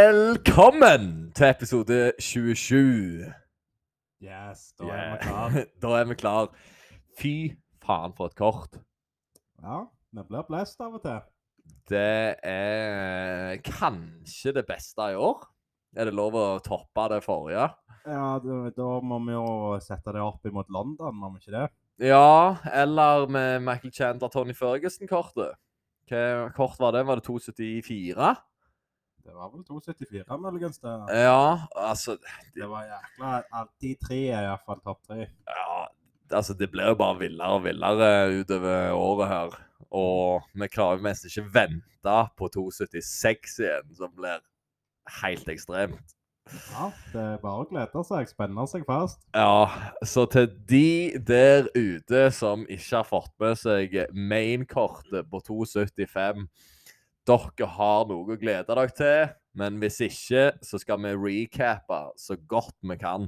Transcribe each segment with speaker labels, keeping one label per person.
Speaker 1: Velkommen til episode 27.
Speaker 2: Yes, da er
Speaker 1: Yeah.
Speaker 2: vi klare.
Speaker 1: Da er vi klar. Fy faen for et kort.
Speaker 2: Ja, vi blir blest av og til.
Speaker 1: Det er kanskje det beste i år. Er det lov å toppe det forrige?
Speaker 2: Ja, da, da må vi jo sette det opp imot London, må vi ikke det?
Speaker 1: Ja, eller med Michael Chandler, Tony Ferguson-kortet. Hva kort var det? Var det 274?
Speaker 2: Det var vel 2,74 muligens det.
Speaker 1: Ja, altså
Speaker 2: Det var jækla alltid tre, er iallfall topp tre.
Speaker 1: ja, altså det blir jo bare villere og villere utover året her. Og vi klarer jo nesten ikke vente på 2,76 igjen, som blir helt ekstremt.
Speaker 2: Ja, det er bare å glede seg, spenne seg fast.
Speaker 1: Ja, så til de der ute som ikke har fått med seg mainkortet på 2,75 Dere har noe å glede dere til, men hvis ikke, så skal vi recappe så godt vi kan.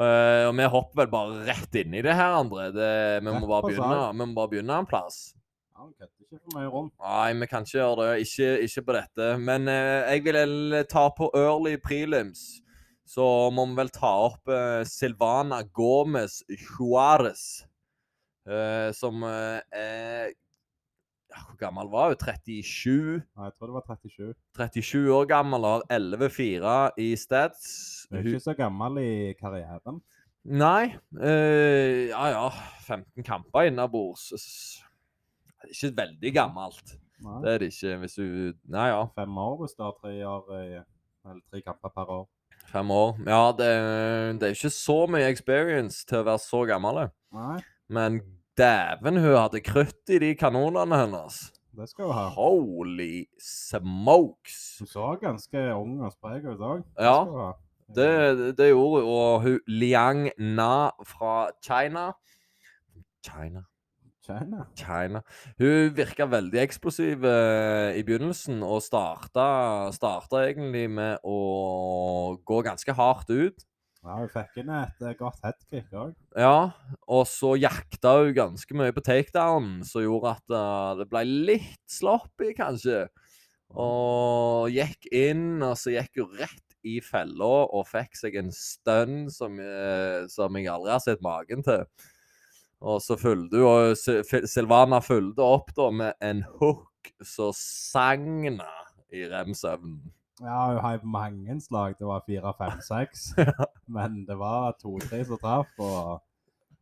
Speaker 1: Eh, og vi hopper vel bare rett inn i det her, André. Det, vi, må
Speaker 2: Rett
Speaker 1: bare
Speaker 2: på
Speaker 1: begynne, vi må bare begynne en plass.
Speaker 2: Ja, vi kødder ikke for mye rundt.
Speaker 1: Nei, vi kan ikke gjøre det. Ikke, ikke på dette. Men eh, jeg vil heller ta på early prelims. Så må vi vel ta opp eh, Silvana Gomez Juárez. eh, som eh, er ja, Hvor gammel var hun? 37?
Speaker 2: Nei, jeg tror det var 37.
Speaker 1: 37 år gammel og har 11-4 i stats.
Speaker 2: Du er
Speaker 1: Hun-
Speaker 2: ikke så gammel i karrieren.
Speaker 1: Nei. eh, ja ja, 15 kamper innabords. S- Ikke veldig gammelt.
Speaker 2: Nei.
Speaker 1: Det er det ikke hvis hun Nei ja.
Speaker 2: Fem år hvis du har tre år i- Eller tre kamper per år.
Speaker 1: Fem år. Ja, det, det er ikke så mye experience til å være så gammel.
Speaker 2: Nei,
Speaker 1: Men dæven, hun hadde krutt i de kanonene hennes.
Speaker 2: det skal du ha.
Speaker 1: Holy smokes!
Speaker 2: Du så ganske ung og sprek ut òg.
Speaker 1: Ja, det, det gjorde hun. Og hun Liang Na fra China China
Speaker 2: China.
Speaker 1: China. Hun virka veldig eksplosiv eh, i begynnelsen, og starta, starta egentlig med å gå ganske hardt ut.
Speaker 2: Ja, hun fikk inn et eh, godt headkick òg.
Speaker 1: Ja, og så jakta hun ganske mye på takedown, som gjorde at eh, det ble litt sloppy, kanskje. Og gikk inn, og så gikk hun rett i fella og fikk seg en stønn som, eh, som jeg aldri har sett magen til. Og så fulgte hun, og Sil- Fil- Silvana fulgte opp da med en hook som sagna i rem-søvnen.
Speaker 2: Ja, hun har mange slag. Det var fire, fem, seks. Men det var to-tre som traff, og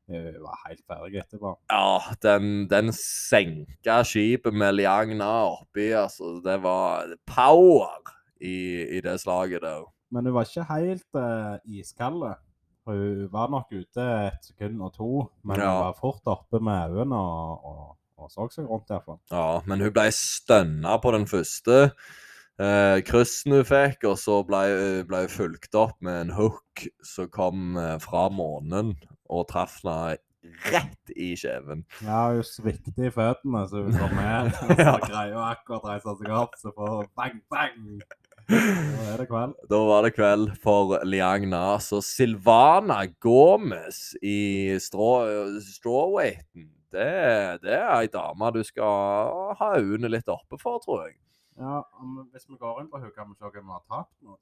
Speaker 2: hun var helt ferdig etterpå.
Speaker 1: Ja, den, den senka skipet med Liagna oppi, altså. Det var power i, i det slaget der.
Speaker 2: Men hun var ikke helt uh, iskald. Hun var nok ute et sekund og to, men
Speaker 1: Ja.
Speaker 2: hun var fort oppe med øynene og, og, og så seg rundt derfor.
Speaker 1: Ja, men hun ble stønna på den første eh, kryssen hun fikk, og så ble, ble hun fulgt opp med en hook som kom eh, fra månen og traff henne rett i kjeven.
Speaker 2: Ja, hun svikter i føttene, så hun kom med. Og
Speaker 1: Ja.
Speaker 2: så greier hun akkurat å reise seg opp, så får hun bang, bang! Nå er det kveld.
Speaker 1: Da var det kveld for Liang Na. Så Silvana Gomez i straw, strawweighten det, det er ei dame du skal ha øynene litt oppe for, tror jeg.
Speaker 2: Ja, om, hvis vi går inn på henne, kan vi se hvem vi har tapt nå.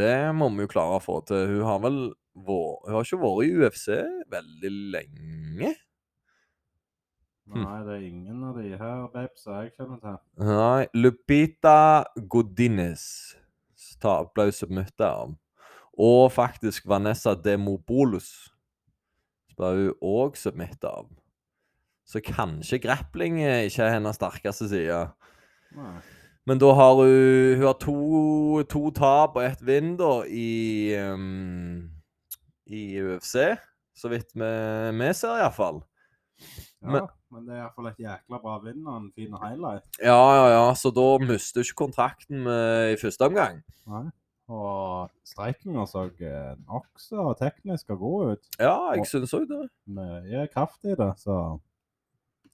Speaker 1: Det må vi jo klare å få til. Hun har vel vår, hun har ikke vært i UFC veldig lenge. Hm.
Speaker 2: Nei, det er ingen av de her babesa jeg kjenner til.
Speaker 1: Nei, Lupita Godinez ta- ble submittet av. Og faktisk Vanessa Demobolus ble hun òg submittet av. Så kanskje grappling er ikke er hennes sterkeste side.
Speaker 2: Nei.
Speaker 1: Men da har hun Hun har to, to tap og ett vinn, da, i ehm, I UFC. Så vidt vi vi ser, iallfall.
Speaker 2: Ja,
Speaker 1: Men-
Speaker 2: men, det er iallfall et jækla bra vinn og en fin highlight.
Speaker 1: Ja, ja, ja. Så da mister hun ikke kontrakten med, i første omgang.
Speaker 2: Og streikinga så eh, nokså teknisk og god ut.
Speaker 1: Ja, jeg
Speaker 2: Og-
Speaker 1: syns òg det.
Speaker 2: Mye kraft i det, så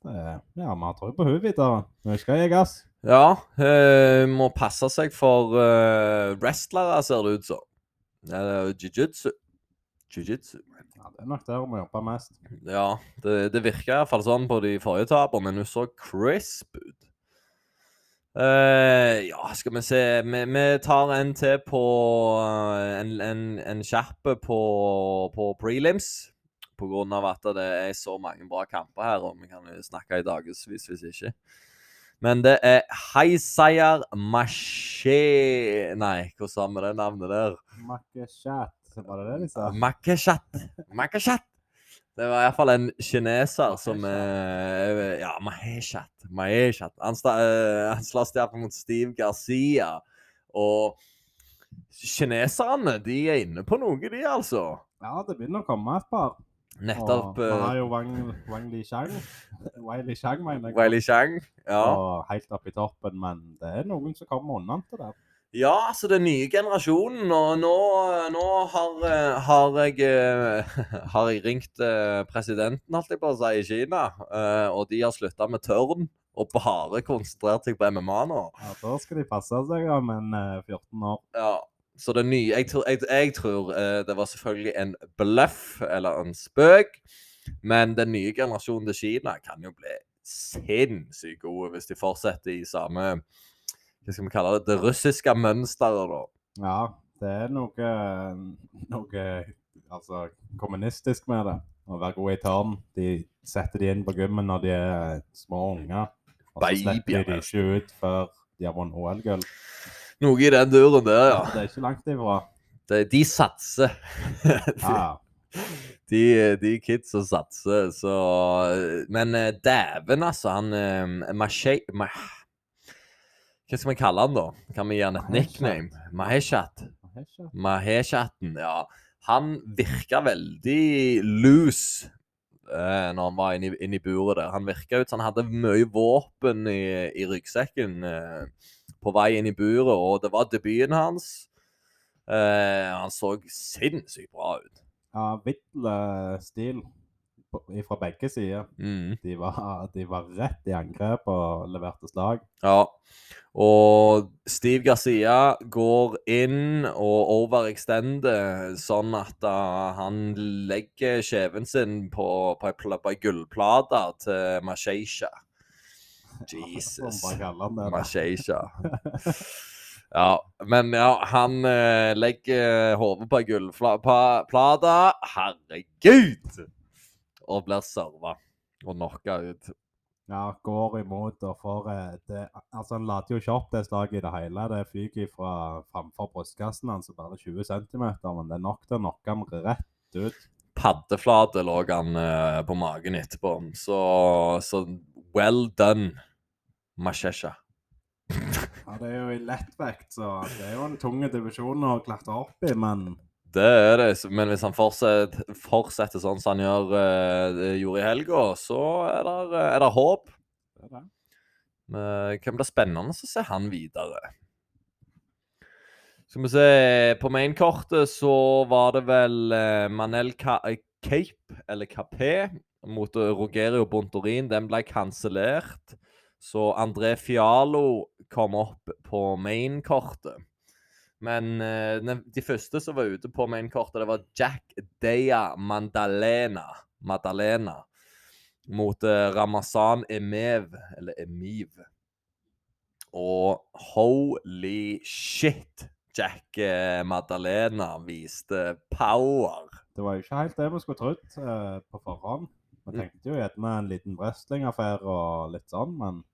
Speaker 2: det, er- Ja, vi har tro på henne videre. Nå skal jeg gi gass.
Speaker 1: Ja, eh, må passe seg for eh, wrestlere, ser det ut som. Eh, Jiu-jitsu. Jiu-jitsu.
Speaker 2: Ja, det er nok der hun må jobbe mest.
Speaker 1: Ja, det, det virka iallfall sånn på de forrige tapene, men hun så crisp ut. Eh, ja, skal vi se Vi, vi tar en til på eh, en, en, en kjappe på, på prelims. På grunn av at det er så mange bra kamper her, og vi kan jo snakke i dagevis hvis ikke. Men det er Heiseier Mashe... Nei, hvordan sa vi det navnet der?
Speaker 2: Makkeshat, var det det de sa?
Speaker 1: Makeshat. Makeshat. Det var iallfall en kineser som eh, Ja, Maheshat. Maheshat. Han, sta, eh, han slåss der mot Steve Garcia. Og kineserne, de er inne på noe, de, altså.
Speaker 2: Ja, det begynner å komme et par.
Speaker 1: Nettopp
Speaker 2: Og Man
Speaker 1: uh,
Speaker 2: har jo Wang, Wang Li Chang. Wai Li Chang, mener jeg.
Speaker 1: Wiley Chang. Ja.
Speaker 2: Og helt opp i toppen, men det er noen som kommer unna til det.
Speaker 1: ja, altså den nye generasjonen. Og nå, nå har, eh, har jeg eh, Har jeg ringt eh, presidenten, holdt jeg på å si, i Kina. eh, Og de har slutta med tørn og bare konsentrert seg på MMA nå.
Speaker 2: Ja, da skal de passe seg om en eh, 14 år.
Speaker 1: Ja. Så det nye Jeg tror, jeg, jeg tror eh, det var selvfølgelig en bløff eller en spøk. Men den nye generasjonen til Kina kan jo bli sinnssykt gode hvis de fortsetter i samme Hva skal vi kalle det? Det russiske mønsteret, da.
Speaker 2: Ja, det er noe, noe altså, kommunistisk med det. Å være god i tørn. De setter de inn på gymmen når de er små unger. Og så slipper de
Speaker 1: Babyer,
Speaker 2: de ikke ut før de har vunnet OL-gull.
Speaker 1: Noe i den duren der, ja.
Speaker 2: Det er ikke langt ifra.
Speaker 1: De, de satser.
Speaker 2: Ja, ja.
Speaker 1: de, de kidsa satser, så Men eh, dæven, altså. Han eh, Mashe... Ma, hva skal vi kalle han, da? Kan vi gi han et
Speaker 2: Maheshat.
Speaker 1: nickname? Maheshat.
Speaker 2: Jeg har ikke-
Speaker 1: Maheshatten, ja. Han virka veldig loose eh, når han var inne i, inne i buret der. Han virka ut som han hadde mye våpen i, i ryggsekken eh, på vei inn i buret, og det var debuten hans. Eh, han så sinnssykt bra ut.
Speaker 2: Ja, vill eh, stil fra begge sider.
Speaker 1: Mm.
Speaker 2: De var, de var rett i angrep og leverte slag.
Speaker 1: Ja. Og Steve Garcia går inn og overextender, sånn at uh, han legger kjeven sin på, på, ei pla- på ei gullplate til Masheisha. Jesus.
Speaker 2: Som man kaller det.
Speaker 1: Masheisha. Ja, men ja, han eh, legger hodet på ei gullplate. Herregud! Og blir serva og knocka ut.
Speaker 2: Ja, går imot og får eh, det, Altså, han lader jo ikke opp det slaget i det hele. Det fyker fra framfor brystkassen hans og bare 20 cm, men det er nok til å knocke ham rett ut.
Speaker 1: paddeflate lå han eh, på magen etterpå. Så, så well done, Mashesha.
Speaker 2: Ja, Det er jo i lettvekt, så det er jo en tung divisjon å klatre opp i, men
Speaker 1: Det er det. så- Men hvis han fortsetter, fortsetter sånn som han gjør, eh, gjorde i helga, så er det, er der håp.
Speaker 2: det er det.
Speaker 1: Men Det blir spennende å se han videre. Skal vi se På mainkortet så var det vel eh, Manel Ka eh, Cape, eller Capé, mot eh, Rogerio Bontorin. Den ble kansellert. Så André Fialo kom opp på mainkortet. Men eh, den- de første som var ute på mainkortet, det var Jack Deya Mandalena. Madalena mot eh, Ramazan Emev, eller Emiv. Og holy shit, Jack eh, Madalena viste power.
Speaker 2: Det var jo ikke helt det vi skulle trodd eh, på forhånd. Vi tenkte jo gjerne en liten wrestlingaffære og litt sånn, men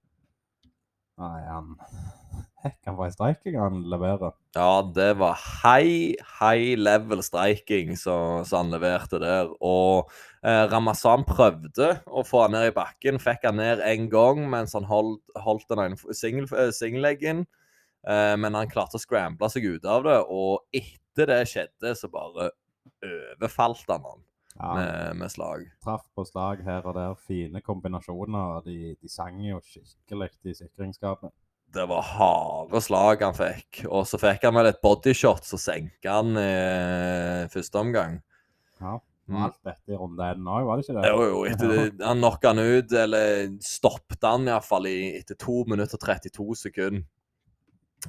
Speaker 2: Nei, han Hekk, han får ei streiking han leverer.
Speaker 1: Ja, det var high, high level striking som som han leverte der. Og eh, Ramazan prøvde å få han ned i bakken. Fikk han ned én gang mens han holdt, holdt den ene f- singel- eh, singelleggen. Eh, men han klarte å scramble seg ut av det, og etter det skjedde, så bare overfalt han han
Speaker 2: Ja,
Speaker 1: med, med slag.
Speaker 2: Traff på slag her og der. Fine kombinasjoner. og De, de sang jo skikkelig i sikringsskapene.
Speaker 1: Det var harde slag han fikk. Og så fikk han vel et bodyshot, så senka han eh, første omgang.
Speaker 2: Ja. Og
Speaker 1: Mm.
Speaker 2: alt dette i runde én òg, var det ikke det?
Speaker 1: Jo, jo, etter det, han knocka han ut, eller stoppet han iallfall etter 2 minutter og 32 sekunder.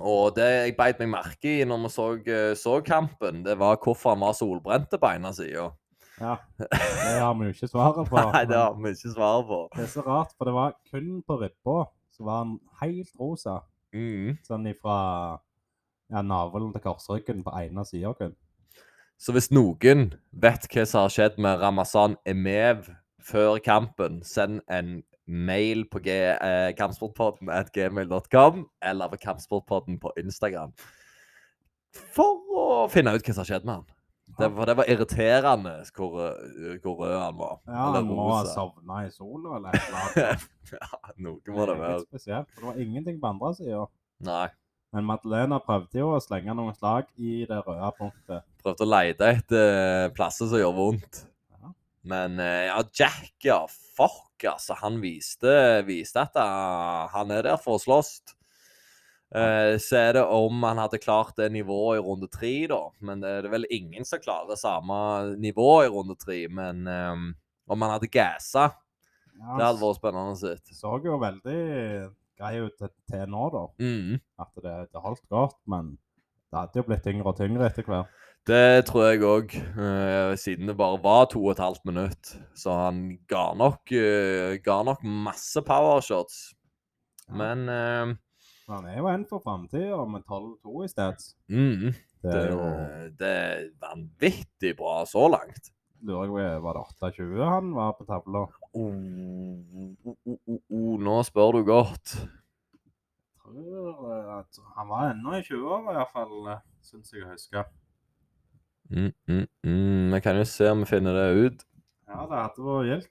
Speaker 1: Og det jeg beit meg merke i når vi så, eh, så kampen, det var hvorfor han var solbrent på ene sida.
Speaker 2: Ja. Det har vi jo ikke svaret på.
Speaker 1: Nei, det har vi ikke svar på.
Speaker 2: Det er så rart, for det var kun på ribba så var han helt rosa.
Speaker 1: Mm.
Speaker 2: Sånn ifra ja, navlen til korsryggen på ene sida kun.
Speaker 1: Så hvis noen vet hva som har skjedd med Ramazan Emev før kampen, send en mail på g eh, kampsportpodden at gmail.com, eller på kampsportpodden på Instagram, for å finne ut hva som har skjedd med han. Det, for det var irriterende hvor, eh, hvor rød han var.
Speaker 2: Ja,
Speaker 1: eller
Speaker 2: han må ha
Speaker 1: rosa.
Speaker 2: sovna i sola eller et eller annet.
Speaker 1: Ja, Noe må det
Speaker 2: er
Speaker 1: være.
Speaker 2: litt spesielt. for Det var ingenting på andre sida.
Speaker 1: Nei.
Speaker 2: Men Madeleine prøvde jo å slenge noen slag i det røde punktet.
Speaker 1: Prøvde å lete etter plasser som gjør vondt.
Speaker 2: Ja.
Speaker 1: Men eh, ja, Jack, ja. Fuck, altså. Han viste, viste at eh, han er der for å slåss. Eh, så er det om han hadde klart det nivået i runde tre, da. Men det er det vel ingen som klarer samme nivå i runde tre. Men eh, om han hadde gassa,
Speaker 2: Ja,
Speaker 1: det hadde vært spennende å se.
Speaker 2: så jo veldig grei ut til- til nå, da.
Speaker 1: Mm.
Speaker 2: At det, det holdt godt, men det hadde jo blitt tyngre og tyngre etter hvert.
Speaker 1: Det tror jeg òg, eh, siden det bare var to og et halvt minutt. Så han ga nok, eh, ga nok masse powershots.
Speaker 2: Ja.
Speaker 1: Men eh,
Speaker 2: Han er jo en for framtida, med 12-2 i sted.
Speaker 1: mm,
Speaker 2: Det
Speaker 1: det,
Speaker 2: er jo
Speaker 1: det er vanvittig bra så langt.
Speaker 2: Lurer jeg på, var det 28 han var på tavla?
Speaker 1: Oh, oh, oh, oh, oh, nå spør du godt.
Speaker 2: Tror eh, at Han var ennå i 20-åra, iallfall, syns jeg å huske.
Speaker 1: Mm, mm, mm. Vi kan jo se om vi finner det ut.
Speaker 2: Ja, det hadde vært gildt.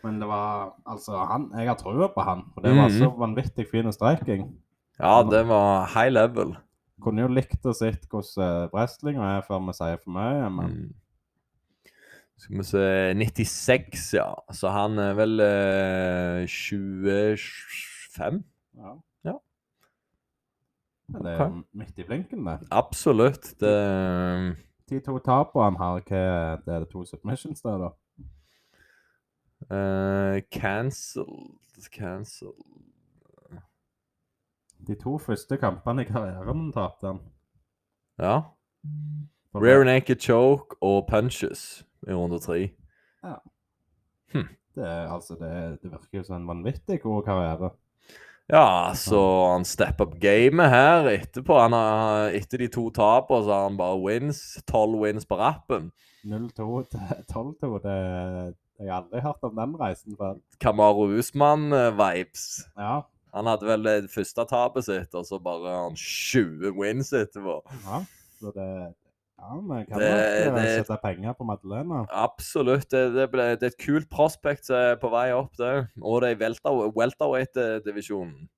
Speaker 2: Men det var Altså, han, jeg har trua på han. For det var
Speaker 1: Mhm.
Speaker 2: så vanvittig fin streiking.
Speaker 1: Ja, det var high level.
Speaker 2: Kunne jo likt å sett hvordan eh, wrestlinga er før vi sier for mye, men
Speaker 1: Mm. Skal vi se 96, ja. Så han er vel eh, 25?
Speaker 2: ja.
Speaker 1: Ja.
Speaker 2: Men Det er jo midt i blinken, det.
Speaker 1: Absolutt. Det
Speaker 2: De to tapene her, hva det er det to submissions der, da?
Speaker 1: eh, Cancelled Cancelled
Speaker 2: De to første kampene i karrieren tapte han.
Speaker 1: Ja.
Speaker 2: For-
Speaker 1: Rear naked choke og punches i runde tre.
Speaker 2: Det, er- altså, det, det virker jo som en vanvittig god karriere.
Speaker 1: Ja, så han stepper opp gamet her etterpå. Han har, etter de to tapene så har han bare wins. Tolv wins på rappen.
Speaker 2: 0-2 til 12-2, det jeg har aldri hørt om den reisen før.
Speaker 1: Kamaru eh, Usman-vibes.
Speaker 2: Ja,
Speaker 1: Han hadde vel det første tapet sitt, og så bare han 20 wins etterpå.
Speaker 2: ja. Så det Ja, men kan
Speaker 1: Det-
Speaker 2: nok eh,
Speaker 1: det-
Speaker 2: sette penger på Madeleine.
Speaker 1: Absolutt. Det, det, ble, det er et kult prospect som er på vei opp, det. Og det er i welter- welterweight-divisjonen.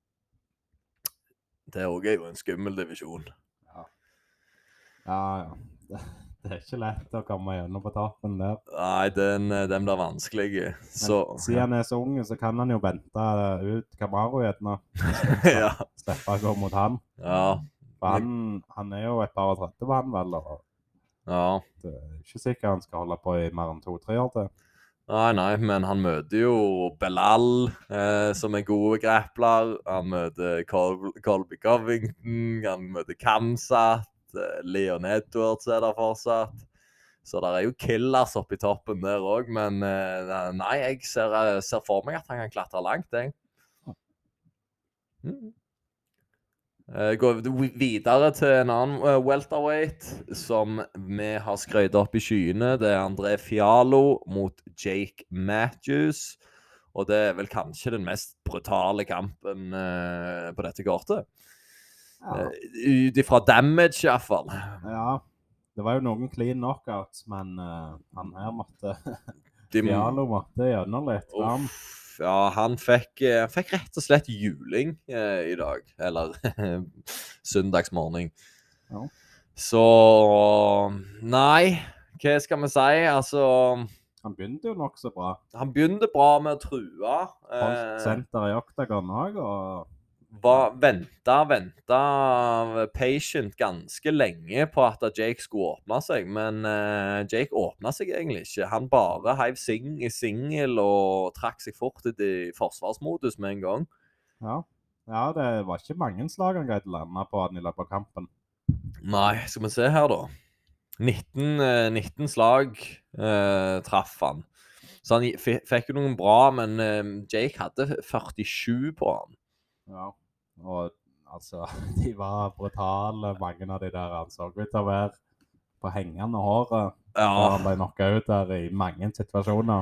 Speaker 1: Det òg er jo en skummel divisjon.
Speaker 2: Ja, ja. Det, det er ikke lett å komme gjennom på tapen der.
Speaker 1: Nei, den, eh, den blir vanskelig.
Speaker 2: Men
Speaker 1: Så
Speaker 2: siden han er så ung, så kan han jo vente ut Camaro gjerne.
Speaker 1: ja.
Speaker 2: Slippe å gå mot han.
Speaker 1: ja.
Speaker 2: For han, han er jo et par og tretti på han, vel. Og
Speaker 1: Ja.
Speaker 2: det er ikke sikkert han skal holde på i mer enn to-tre år til.
Speaker 1: Nei, nei, men han møter jo Belal, eh, som er gode grappler. Han møter Col Colby Covington, han møter Kamsat. Eh, Leon Edwards er der fortsatt. Så det er jo killers oppe i toppen der òg, men eh, nei, jeg ser, eh, ser for meg at han kan klatre langt, jeg. Mm. Eh, Går vi videre til en annen eh, welterweight som vi har skrøyt opp i skyene. Det er André Fialo mot Jake Matthews. Og det er vel kanskje den mest brutale kampen eh, på dette kortet.
Speaker 2: Ja.
Speaker 1: Eh, Ut ifra damage, iallfall.
Speaker 2: Ja, det var jo noen clean knockouts, men eh, han her måtte
Speaker 1: De,
Speaker 2: Diallo måtte gjennom litt fram.
Speaker 1: Uff, ja, han fikk, eh, han fikk rett og slett juling eh, i dag. Eller søndagsmorgen.
Speaker 2: Ja.
Speaker 1: Så Nei, hva skal vi si? Altså
Speaker 2: Han begynte jo nokså bra.
Speaker 1: Han begynte bra med å true.
Speaker 2: Holdt
Speaker 1: Eh,
Speaker 2: senter i oktagon òg, og
Speaker 1: var venta, venta patient ganske lenge på at Jake skulle åpne seg, men eh, Jake åpna seg egentlig ikke. Han bare heiv sing i singel og trakk seg fort ut i forsvarsmodus med en gang.
Speaker 2: ja. ja, det var ikke mange slag han greide å lande på han i løpet av kampen.
Speaker 1: Nei, skal vi se her, da. 19, eh, 19 slag eh, traff han. Så han gi- fi- fikk jo noen bra, men eh, Jake hadde 47 på han.
Speaker 2: Ja. Og altså, de var brutale, mange av de der han så ut til å være på hengende håret. Og han
Speaker 1: Ja,
Speaker 2: ble knocka ut der i mange situasjoner.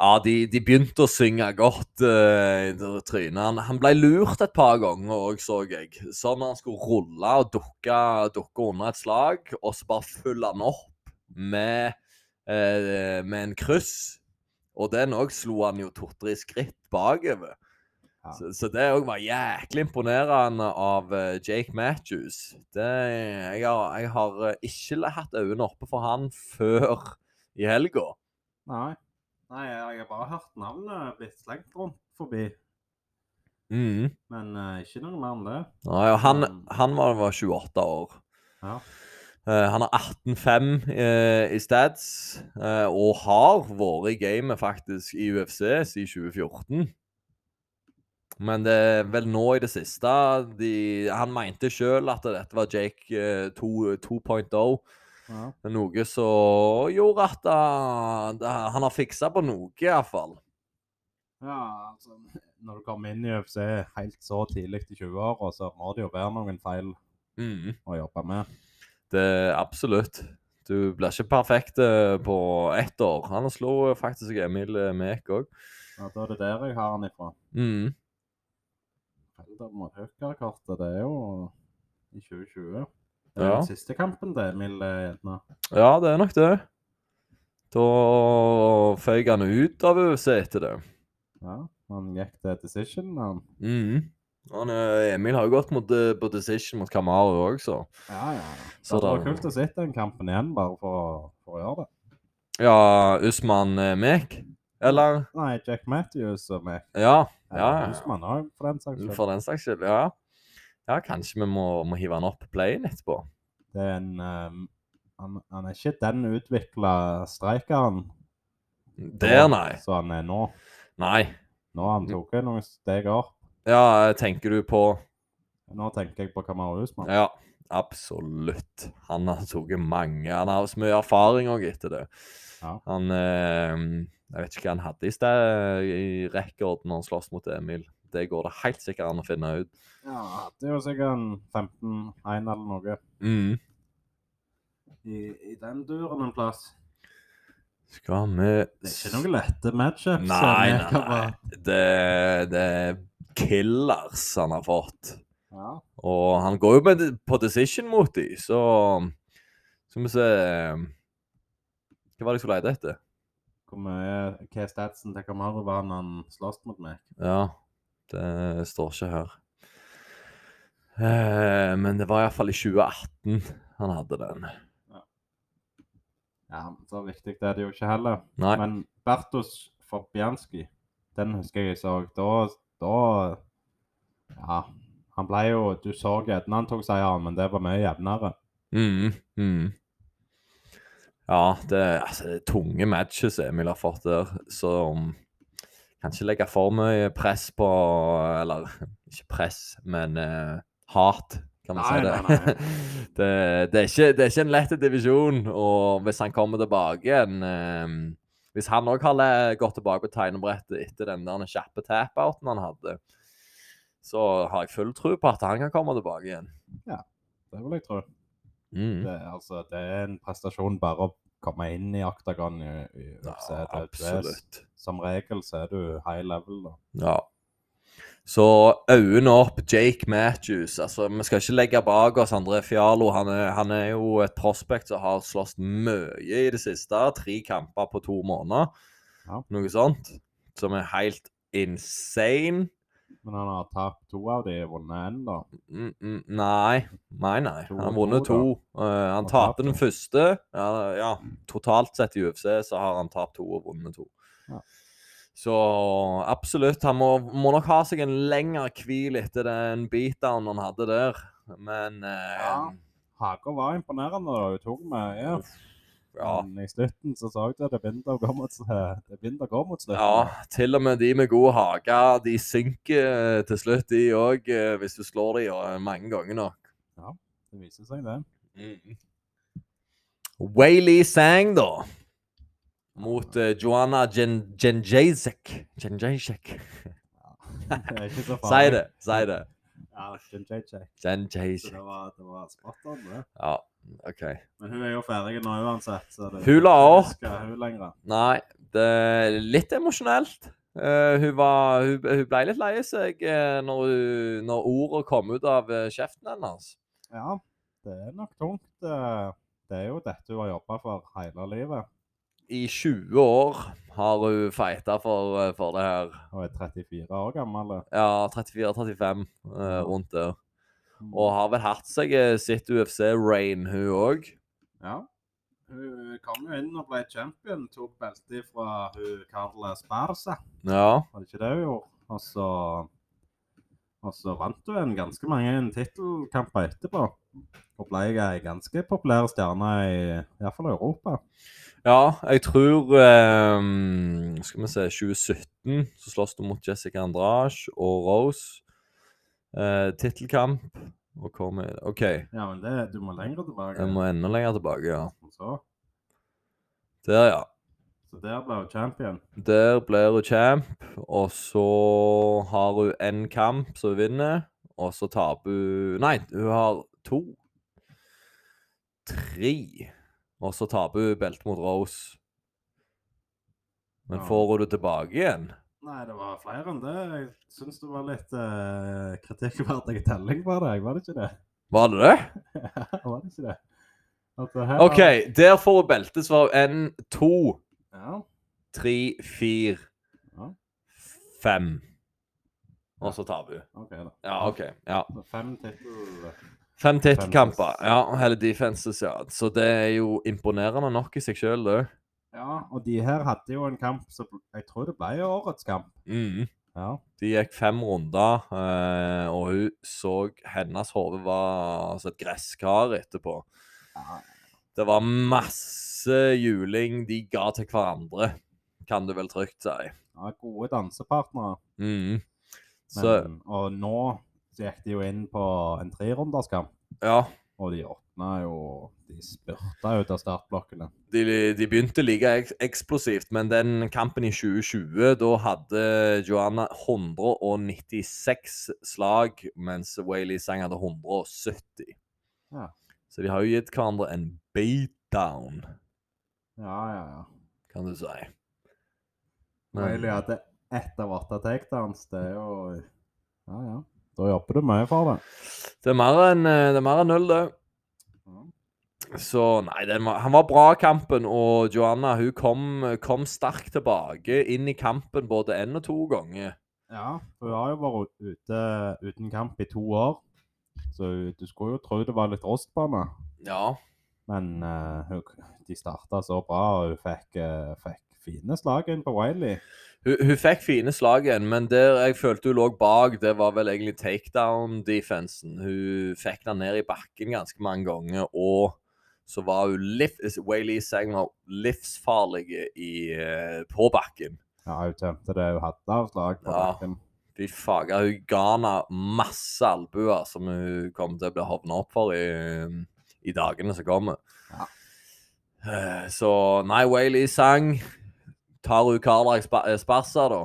Speaker 1: ja de, de begynte å synge godt eh, i det trynet. Han, han ble lurt et par ganger òg, så jeg. Sånn han skulle rulle og dukke, dukke under et slag, og så bare fylle han opp med, eh, med en kryss. Og den òg slo han jo to-tre skritt bakover.
Speaker 2: Ja.
Speaker 1: Så, så det òg var jæklig imponerende av eh, Jake Matthews. Det, jeg, har, jeg har eh, ikke hatt øynene oppe for han før i helga.
Speaker 2: Nei. Nei, jeg har bare hørt navnet blitt slengt rundt forbi,
Speaker 1: Mhm.
Speaker 2: men eh, ikke noe mer enn det.
Speaker 1: Nei, og han,
Speaker 2: Mm.
Speaker 1: han var, var 28 år.
Speaker 2: Ja.
Speaker 1: Eh, han har 18-5 eh, i stats, eh, og har vært i gamet faktisk i UFC siden 2014. Men det er vel nå i det siste de, Han mente sjøl at dette var Jake eh, 2 2.0.
Speaker 2: Ja.
Speaker 1: oh. Noe som gjorde at eh, det, han har fiksa på noe, iallfall.
Speaker 2: ja, altså Når du kommer inn i UFC helt så tidlig i 20-åra, så må det jo være noen feil
Speaker 1: Mm.
Speaker 2: å jobbe med.
Speaker 1: Det Absolutt. Du blir ikke perfekt eh, på ett år. Han slo eh, faktisk Emil eh, Mek òg.
Speaker 2: Ja, da er det der jeg har han ifra.
Speaker 1: Mm.
Speaker 2: Felder mot Høyker-kartet, det er jo i 2020. Det er
Speaker 1: Ja.
Speaker 2: den siste kampen til Emil eh, Edna.
Speaker 1: ja, det er nok det. Da føyk han ut av UFC etter det.
Speaker 2: Ja, han gikk til decision, han.
Speaker 1: Mm. Han, eh, Emil har jo gått mot, eh, på decision mot Kamaru òg, så
Speaker 2: Ja, ja.
Speaker 1: Så
Speaker 2: Så det var
Speaker 1: da-
Speaker 2: kult å se den kampen igjen, bare for, å- for å gjøre det.
Speaker 1: Ja, Usman eh, Mek? Eller?
Speaker 2: Nei, Jack Matthews og meg.
Speaker 1: Ja. ja,
Speaker 2: Eller
Speaker 1: ja.
Speaker 2: Usman òg, for den saks skyld.
Speaker 1: For den saks skyld, ja. Ja, kanskje vi må, må hive han opp på playen etterpå.
Speaker 2: Det er en ehm, han, han er ikke den utvikla streikeren
Speaker 1: Der, nei. Mm.
Speaker 2: som han er nå.
Speaker 1: Nei.
Speaker 2: Nå har han tok jeg noen steg opp.
Speaker 1: Ja, eh, tenker du på
Speaker 2: Nå tenker jeg på Kamaru Usman.
Speaker 1: Ja, absolutt. Han har tatt mange Han har så mye erfaring òg etter det.
Speaker 2: Ja.
Speaker 1: Han eh, Jeg vet ikke hva han hadde i sted i rekord når han sloss mot Emil. Det går det helt sikkert an å finne ut.
Speaker 2: Ja, det er jo sikkert en 15-1 eller noe.
Speaker 1: Mm.
Speaker 2: I, I den duren en plass.
Speaker 1: Skal vi
Speaker 2: Det er ikke noen lette matchups. altså.
Speaker 1: Nei,
Speaker 2: jeg kan
Speaker 1: nei,
Speaker 2: bare-
Speaker 1: nei. Det, det er killers han har fått.
Speaker 2: Ja,
Speaker 1: Og han går jo på, på decision mot de, så Skal vi se Hva var det jeg skulle lete etter?
Speaker 2: hvor mye hva er statsen til Kamaru var når han sloss mot meg?
Speaker 1: Ja, det står ikke her. Eh, men det var iallfall i 2018 han hadde den.
Speaker 2: Ja, så viktig er det jo ikke heller.
Speaker 1: Nei.
Speaker 2: Men Bertos Fabianski, den husker jeg jeg så. Da, da Ja. Han ble jo Du så gjerne han tok seieren, men det var mye jevnere.
Speaker 1: Mm, mm. Ja, det, altså, det er tunge matches Emil har fått der, så um, kan ikke legge for mye press på Eller ikke press, men eh, hat, kan man
Speaker 2: Nei,
Speaker 1: si det.
Speaker 2: nei, nei.
Speaker 1: det, det, er ikke, det er ikke en lett divisjon, og hvis han kommer tilbake igjen eh, Hvis han òg har le- gått tilbake på tegnebrettet etter den der kjappe tap-outen han hadde, så har jeg full tro på at han kan komme tilbake igjen.
Speaker 2: Det vil jeg tro.
Speaker 1: Mm.
Speaker 2: Det, altså, det er en prestasjon bare å komme inn i oktagon i, i UFC.
Speaker 1: Ja,
Speaker 2: Det- det er-
Speaker 1: absolutt.
Speaker 2: Som regel så er du high level. Da.
Speaker 1: Ja. Så øynene opp, Jake Matthews. Altså, Vi skal ikke legge bak oss André Fialo. Han er, han er jo et prospect som har slåss mye i det siste. Tre kamper på to måneder,
Speaker 2: Ja.
Speaker 1: noe sånt. Som er helt insane.
Speaker 2: Men han har tapt to av de og vunnet én, da.
Speaker 1: Mm, mm, Nei, nei, nei. Han har
Speaker 2: To-
Speaker 1: vunnet
Speaker 2: to, da.
Speaker 1: to. Eh, han
Speaker 2: Og
Speaker 1: tapte
Speaker 2: tapt
Speaker 1: den
Speaker 2: to.
Speaker 1: første. Ja, ja, totalt sett i UFC så har han tapt to og vunnet to.
Speaker 2: Ja.
Speaker 1: Så absolutt. Han må, må nok ha seg en lengre hvil etter den beatdown han hadde der. Men eh,
Speaker 2: Ja. Hager var imponerende. da, Hun tok mye.
Speaker 1: ja.
Speaker 2: Men i slutten så så jeg at det begynte å gå mot, det begynte å gå mot slutten.
Speaker 1: Ja, til og med de med god hage, de synker eh, til slutt, de òg, hvis du slår de eh, mange ganger nok.
Speaker 2: Det viser seg, det. Mm.
Speaker 1: Wayley Sang, da. Mot eh, Joanna Gen Genjazek. Genjazek.
Speaker 2: Det er ikke så
Speaker 1: Si
Speaker 2: farlig.
Speaker 1: det, si det.
Speaker 2: Ja, Ja, Jim JJ.
Speaker 1: Jen
Speaker 2: Så
Speaker 1: Jay-Z.
Speaker 2: det var, det var spot on, det.
Speaker 1: Ja, OK.
Speaker 2: Men hun er jo ferdig nå uansett. Så det,
Speaker 1: Hun la
Speaker 2: det
Speaker 1: opp.
Speaker 2: Skal hun lenger.
Speaker 1: Nei, det er litt emosjonelt. Eh, hun, var, hun, hun ble litt lei seg eh, når, hun- når ordet kom ut av eh, kjeften hennes.
Speaker 2: Ja, det er nok tungt. eh, Det er jo dette hun har jobba for hele livet,
Speaker 1: I 20 år har hun fighta for, eh, for det her.
Speaker 2: og er 34 år gammel. eh.
Speaker 1: Ja, 34-35 eh, rundt der.
Speaker 2: Mm.
Speaker 1: Og har vel hatt seg eh, sitt UFC-rain, hun òg.
Speaker 2: Ja. Hun kom jo inn og ble champion, tok beltet fra hun Carla Sparsa.
Speaker 1: Ja.
Speaker 2: Var det ikke det hun gjorde? Og så, og så vant hun en ganske mange tittelkamper etterpå. Og ble ei ganske populær stjerne i iallfall Europa.
Speaker 1: ja, jeg tror eh, Skal vi se 2017 så slåss du mot Jessica Andrage og Rose. Eh, Tittelkamp. Og hvor med OK,
Speaker 2: Ja, men det, du må lenger tilbake.
Speaker 1: jeg må enda lenger tilbake, ja.
Speaker 2: Så,
Speaker 1: Der, ja.
Speaker 2: så der ble hun champion.
Speaker 1: Der blir hun champ, og så har hun én kamp som hun vinner, og så taper hun Nei, hun har to. Tre. Og så taper hun beltet mot Rose. Men
Speaker 2: Ja.
Speaker 1: får hun det tilbake igjen?
Speaker 2: Nei, det var flere enn det. Jeg syns det var litt eh, kritikkverdig telling på deg, var det ikke det?
Speaker 1: Var det det?
Speaker 2: var det ikke det? Altså, her
Speaker 1: OK,
Speaker 2: var-
Speaker 1: der får hun beltet, så var hun én, to,
Speaker 2: Ja.
Speaker 1: tre, fire,
Speaker 2: Ja.
Speaker 1: fem. Og så taper hun.
Speaker 2: OK, da.
Speaker 1: Ja, OK. Ja.
Speaker 2: Så Fem tittel...
Speaker 1: Fem tittelkamper.
Speaker 2: Defenses.
Speaker 1: Ja, eller defenses, ja. Så det er jo imponerende nok i seg sjøl, det.
Speaker 2: Ja, og de her hadde jo en kamp som Jeg tror det ble årets kamp.
Speaker 1: Mm.
Speaker 2: Ja.
Speaker 1: De gikk fem runder, eh, og hun så Hennes hode var som et gresskar etterpå.
Speaker 2: Ja.
Speaker 1: Det var masse juling de ga til hverandre, kan du vel trygt si.
Speaker 2: ja gode dansepartnere.
Speaker 1: Mm.
Speaker 2: Men,
Speaker 1: Så
Speaker 2: Og nå så gikk de jo inn på en trerunderskamp,
Speaker 1: ja,
Speaker 2: og de åpna jo De spurta ut av startblokkene.
Speaker 1: de, de begynte like eks- eksplosivt, men den kampen i 2020, da hadde Joanna 196 slag, mens Wayley Sang hadde 170.
Speaker 2: Ja.
Speaker 1: Så de har jo gitt hverandre en beatdown,
Speaker 2: Ja, ja, ja.
Speaker 1: kan du si. Men-
Speaker 2: Wiley hadde ett av åtte takedowns. Det er jo Ja, ja. Da jobber du mye for det.
Speaker 1: Det er mer enn eh, det er mer enn null, det.
Speaker 2: Ja.
Speaker 1: Så nei, den var, han var bra kampen, og Joanna hun kom, kom sterkt tilbake inn i kampen både én og to ganger.
Speaker 2: Ja, for hun har jo vært ute uten kamp i to år, så du skulle jo tro det var litt rost på henne.
Speaker 1: Ja,
Speaker 2: Men eh, hun, de starta så bra, og hun fikk, eh, fikk fine slag inn på Wiley.
Speaker 1: Hun, hun fikk fine slag igjen, men der jeg følte hun lå bak, det var vel egentlig takedown-defensen. Hun fikk den ned i bakken ganske mange ganger, og så var hun liv, Wayley Sang var livsfarlig i, eh, på bakken.
Speaker 2: Ja, hun tømte det hun hadde av slag på
Speaker 1: Ja.
Speaker 2: bakken.
Speaker 1: Fy faga, hun ga henne masse albuer som hun kommer til å bli havna opp for i, eh, i dagene som kommer.
Speaker 2: Ja.
Speaker 1: Eh, Så nei, Wayley Sang tar hun Karlak Sparsa, da.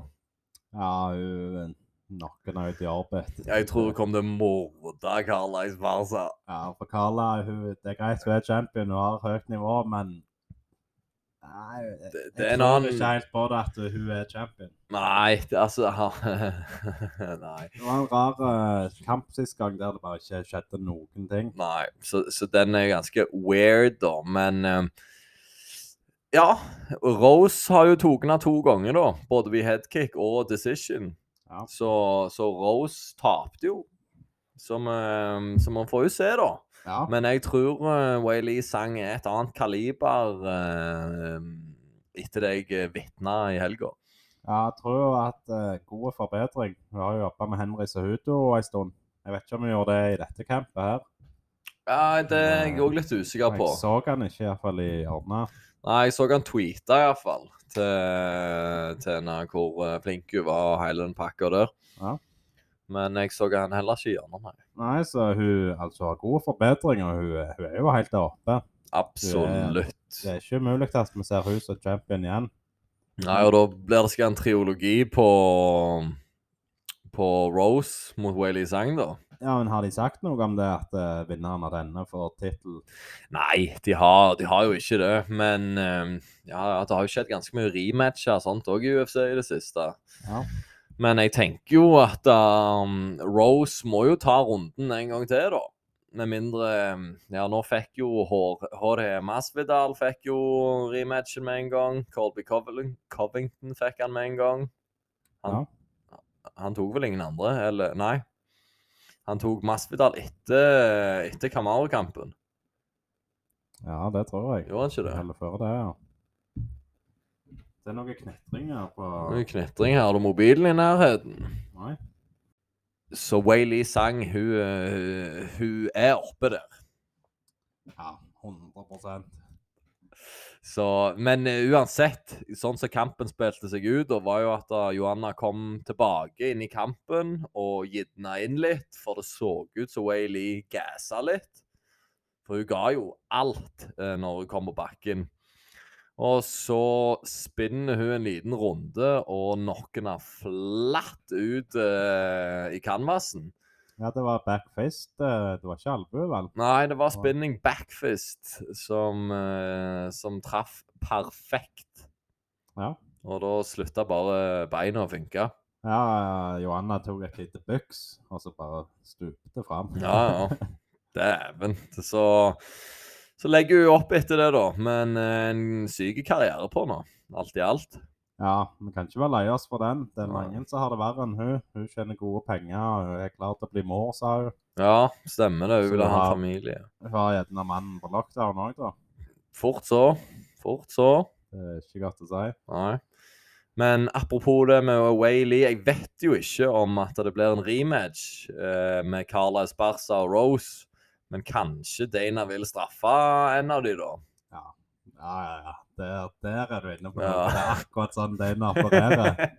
Speaker 2: Ja, hun eh, knocker henne ut i orbit.
Speaker 1: Jeg tror hun kommer til å morde Karlaks Barca.
Speaker 2: Ja, for Carla, hun, det er greit hun er champion, hun har høyt nivå, men Nei, jeg,
Speaker 1: Det, det
Speaker 2: jeg
Speaker 1: er en
Speaker 2: tror ikke
Speaker 1: annen
Speaker 2: helt på det at hun er champion.
Speaker 1: Nei, det, altså han- Nei.
Speaker 2: Det var en rar eh, kamp sist gang der det bare ikke skjedde noen ting.
Speaker 1: nei. Så, så den er ganske weird, da. Men eh, Ja. Rose har jo tatt henne to ganger, da. Både ved headkick og decision.
Speaker 2: Ja.
Speaker 1: Så, så Rose tapte jo. Som, eh, så man får jo se, da.
Speaker 2: Ja,
Speaker 1: Men jeg tror uh, Wayley Sang er et annet kaliber eh, etter det jeg vitna i helga.
Speaker 2: Ja, jeg tror jo at uh, god forbedring. Vi har jo jobba med Henry Sahuto en stund. Jeg vet ikke om vi gjorde det i dette campet her.
Speaker 1: Ja, det er jeg òg litt usikker på.
Speaker 2: Jeg så han ikke iallfall i hjørnet.
Speaker 1: Nei, jeg så han tweeta iallfall til, til henne hvor eh, flink hun var og hele den pakka der.
Speaker 2: Ja.
Speaker 1: Men jeg så han heller ikke gjennom her.
Speaker 2: Nei, så hun altså har god forbedring, og hun, er- hun er jo helt der oppe.
Speaker 1: Absolutt.
Speaker 2: Det er ikke umulig at vi ser hun som champion igjen.
Speaker 1: Nei, og da blir det sikkert en triologi på på Rose mot Wayley Zhang, da.
Speaker 2: Ja, men Har de sagt noe om det, at eh, vinneren av denne får tittel?
Speaker 1: Nei, de har, de har jo ikke det. Men eh, ja, ja, det har jo skjedd ganske mye rematcher og sånt òg i UFC i det siste.
Speaker 2: Ja.
Speaker 1: Men jeg tenker jo at um, Rose må jo ta runden en gang til, da. Med mindre um, Ja, nå fikk jo H- HD Masvidal fikk jo rematchen med en gang. Colby Covington, Covington fikk han med en gang. Han, han tok vel ingen andre, eller Nei. Han tok Masvidal etter, etter Kamaro-kampen.
Speaker 2: ja, det tror jeg.
Speaker 1: Gjorde han ikke det?
Speaker 2: Eller før det, ja. Det er noen knetringer på
Speaker 1: Nå er det knitring her. Har du mobilen i nærheten?
Speaker 2: Nei.
Speaker 1: Så Wayley Sang, hun, eh, hun er oppe der.
Speaker 2: Ja, 100
Speaker 1: Så, men eh, uansett, sånn som kampen spilte seg ut, da var jo at da Johanna kom tilbake inn i kampen og gidna inn litt, for det så ut som Wayley gassa litt. For hun ga jo alt eh, når hun kom på bakken. Og så spinner hun en liten runde og knocker henne flatt ut eh, i canvasen.
Speaker 2: Ja, det var backfist. eh, Det var ikke albue, vel?
Speaker 1: Nei, det var
Speaker 2: Ja.
Speaker 1: spinning backfist som, eh, som traff perfekt.
Speaker 2: Ja.
Speaker 1: Og da slutta bare beina å funke.
Speaker 2: Ja, Johanna tok et lite byks, og så bare stupte fram.
Speaker 1: Ja, ja. Dæven. Så, så legger hun opp etter det, da. Men eh, en syk karriere på nå, alt i alt.
Speaker 2: Ja, vi kan ikke være lei oss for den. Det er
Speaker 1: Nei.
Speaker 2: mange som har det verre enn hun. Hun tjener gode penger, og hun er klar til å bli mor, sa hun.
Speaker 1: Ja, stemmer det.
Speaker 2: Så
Speaker 1: Hun ville
Speaker 2: det
Speaker 1: ha
Speaker 2: har-
Speaker 1: en familie.
Speaker 2: Hun har gjerne mannen på lockdown òg, da.
Speaker 1: Fort så. Fort så.
Speaker 2: Det er ikke godt å si.
Speaker 1: Nei. Men apropos det med Wayley, jeg vet jo ikke om at det blir en rematch eh, med Carla Esparza og Rose. Men kanskje Dana vil straffe en av de da.
Speaker 2: Ja, ja, ja. Der, der er du inne på
Speaker 1: Ja.
Speaker 2: noe. Det er akkurat sånn Dana opererer.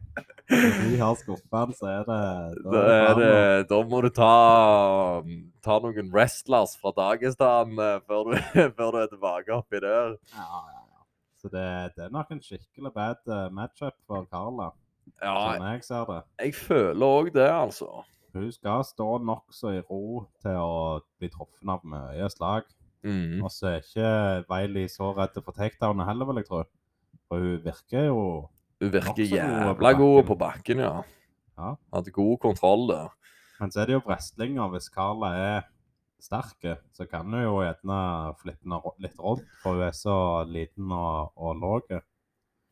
Speaker 2: Når de har skuffet, så er det
Speaker 1: Da, er det, da må du ta, ta noen wrestlers fra Dagestan eh, før, du, før du er tilbake oppi der.
Speaker 2: Ja, ja, ja. Så det, det er nok en skikkelig bad eh, matchup for Carla,
Speaker 1: Ja,
Speaker 2: som jeg ser det.
Speaker 1: jeg føler òg det, altså.
Speaker 2: Hun skal stå nokså i ro til å bli truffet av mye slag.
Speaker 1: Mm.
Speaker 2: Og så er ikke Wiley så redd for takedownet heller, vil jeg tro. For hun virker jo
Speaker 1: Hun virker
Speaker 2: Nokså god på
Speaker 1: jævla god
Speaker 2: bakken.
Speaker 1: på bakken, ja.
Speaker 2: Ja.
Speaker 1: Hadde god kontroll der.
Speaker 2: Men så er det jo wrestlinga. Hvis Carla er sterk, så kan hun jo gjerne flippe henne ro- litt rundt, for hun er så liten og, og lav.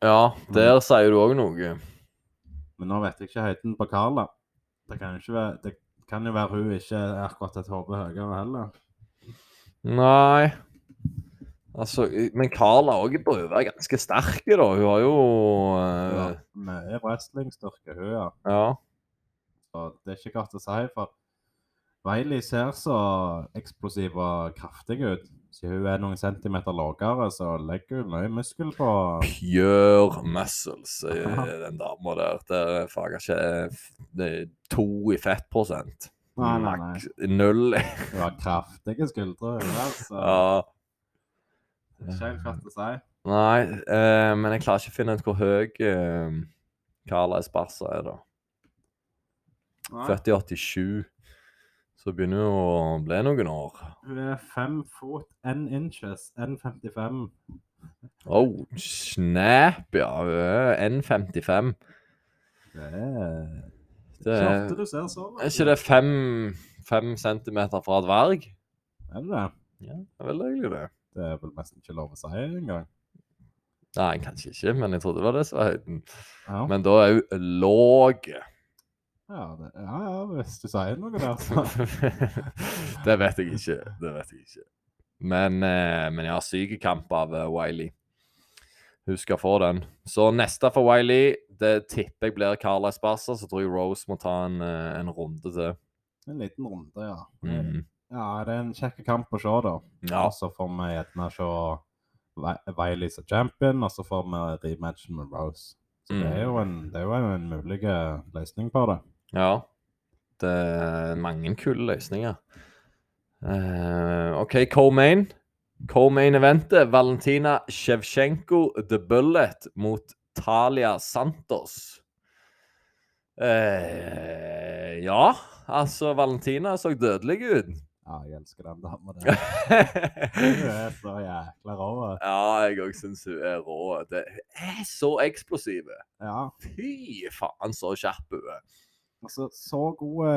Speaker 1: Ja, der sier du òg noe.
Speaker 2: Men nå vet jeg ikke høyden på Carla. Det kan jo, ikke være, det kan jo være hun ikke er akkurat et hode høyere heller.
Speaker 1: Nei Altså, i- men Carla òg bør jo være ganske sterk, da. Hun har jo
Speaker 2: Ja.
Speaker 1: eh,
Speaker 2: Mye wrestlingstyrke hun har.
Speaker 1: Ja.
Speaker 2: Og det er ikke godt å si, for Wiley ser så eksplosiv og kraftig ut. Så hun er noen centimeter lavere, så legger hun mye muskel på
Speaker 1: Pure muscles, eh, den dama der. Der fager ikke det er to i fettprosent.
Speaker 2: Nei, nei, nei.
Speaker 1: Maks null.
Speaker 2: Hun har kraftige skuldre. Hun der, så
Speaker 1: Ja.
Speaker 2: det er ikke helt godt å si.
Speaker 1: Nei, eh, men jeg klarer ikke å finne ut hvor høy eh, Carla Esparza er, da.
Speaker 2: Nei,
Speaker 1: Født i 87. Så begynner hun å bli noen år.
Speaker 2: hun er fem fot én inches. 1,55.
Speaker 1: Oh, snap, ja. Hun er 1,55.
Speaker 2: Det er
Speaker 1: Det
Speaker 2: ikke
Speaker 1: er,
Speaker 2: ofte du ser så.
Speaker 1: er ikke det fem, fem centimeter fra et verg?
Speaker 2: Er det det?
Speaker 1: Ja, det er vel egentlig det.
Speaker 2: Det er vel nesten ikke lov å si engang.
Speaker 1: Nei, kanskje ikke, men jeg trodde det var det som var høyden.
Speaker 2: Ja.
Speaker 1: Men da er hun låg.
Speaker 2: Ja, det, ja, ja, hvis du sier noe der, så
Speaker 1: det vet jeg ikke. Det vet jeg ikke. Men, eh, men jeg har sykekamp av eh, Wiley. Hun skal få den. Så neste for Wiley, det tipper jeg blir Carla Esparza. Så tror jeg Rose må ta en, eh, en runde til.
Speaker 2: En liten runde, ja.
Speaker 1: Mhm.
Speaker 2: Ja, det er en kjekk kamp å se, da.
Speaker 1: Ja.
Speaker 2: Og så får vi gjerne se Wi- Wiley som champion, og så får vi rematchen med Rose. Så det,
Speaker 1: Mm.
Speaker 2: er jo en, det er jo en mulig eh, løsning på det.
Speaker 1: Ja. Det er mange kule løsninger. Eh, OK, co-main. Co-main-eventet. Valentina Shevchenko, The Bullet, mot Talia Santos. Eh, ja, altså Valentina så dødelig ut.
Speaker 2: Ja, jeg elsker den dama der. Hun er så jækla rå. eh.
Speaker 1: ja, jeg òg syns hun er rå. Det er så eksplosiv.
Speaker 2: Ja.
Speaker 1: Fy faen, så skjerp hun er.
Speaker 2: Altså, så gode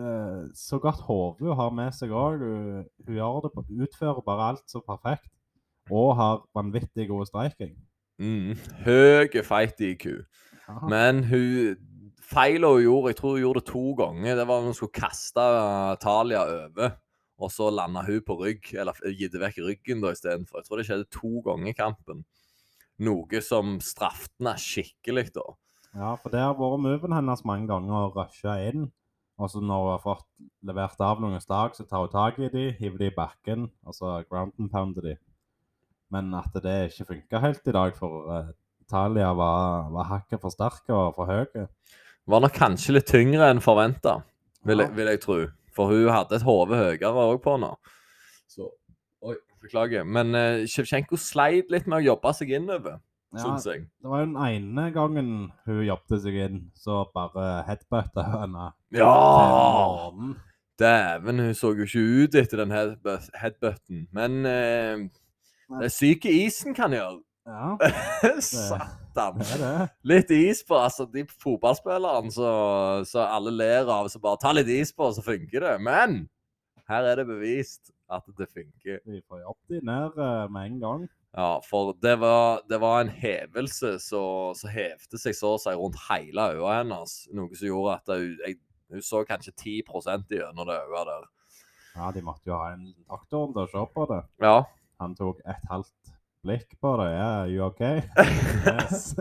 Speaker 2: eh, Så godt hode hun har med seg òg. Hun, hun gjør det på, utfører bare alt så perfekt. Og har vanvittig god streiking.
Speaker 1: Mm. Høy feit IQ.
Speaker 2: Ja.
Speaker 1: Men hun feila hun gjorde, jeg tror hun gjorde det to ganger, det var når hun skulle kaste eh, Talia over. Og så landa hun på rygg, eller f- gitt vekk ryggen da istedenfor. Jeg tror det skjedde to ganger i kampen. Noe som straffet henne skikkelig, da.
Speaker 2: Ja, for det har vært moven hennes mange ganger å rushe inn. Og så når hun har fått levert av noen slag, så tar hun tak i de, hiver de i bakken, og så ground and pounder de. Men at det ikke funka helt i dag, for eh, Italia var, var hakket for sterke og for høye.
Speaker 1: Var nok kanskje litt tyngre enn forventa, vil,
Speaker 2: Ja.
Speaker 1: jeg- vil jeg tro. For hun hadde et hode høyere òg på henne. Så Oi, beklager. Men eh, Shevchenko sleit litt med å jobbe seg innover,
Speaker 2: Ja,
Speaker 1: syns jeg.
Speaker 2: det var jo den ene gangen hun jobbet seg inn, så bare headbutta hun henne.
Speaker 1: Ja!
Speaker 2: til månen.
Speaker 1: Dæven, hun så jo ikke ut etter den headbu- headbutten. Men eh, det er syke isen kan gjøre.
Speaker 2: Ja,
Speaker 1: Satan.
Speaker 2: det er det.
Speaker 1: Litt is på, altså. De fotballspillerne så, så alle ler av, så bare ta litt is på, så funker det. Men her er det bevist at det funker.
Speaker 2: Vi får jobb de ned eh, med en gang.
Speaker 1: Ja, for det var, det var en hevelse som som hevde seg så å si rundt hele øyet hennes. Noe som gjorde at hun, jeg, hun så kanskje 10 gjennom det øyet der.
Speaker 2: Ja, de måtte jo ha en doktor til å se på det.
Speaker 1: Ja.
Speaker 2: Han tok et halvt blikk på det. Ja, yeah, you okay? Yes.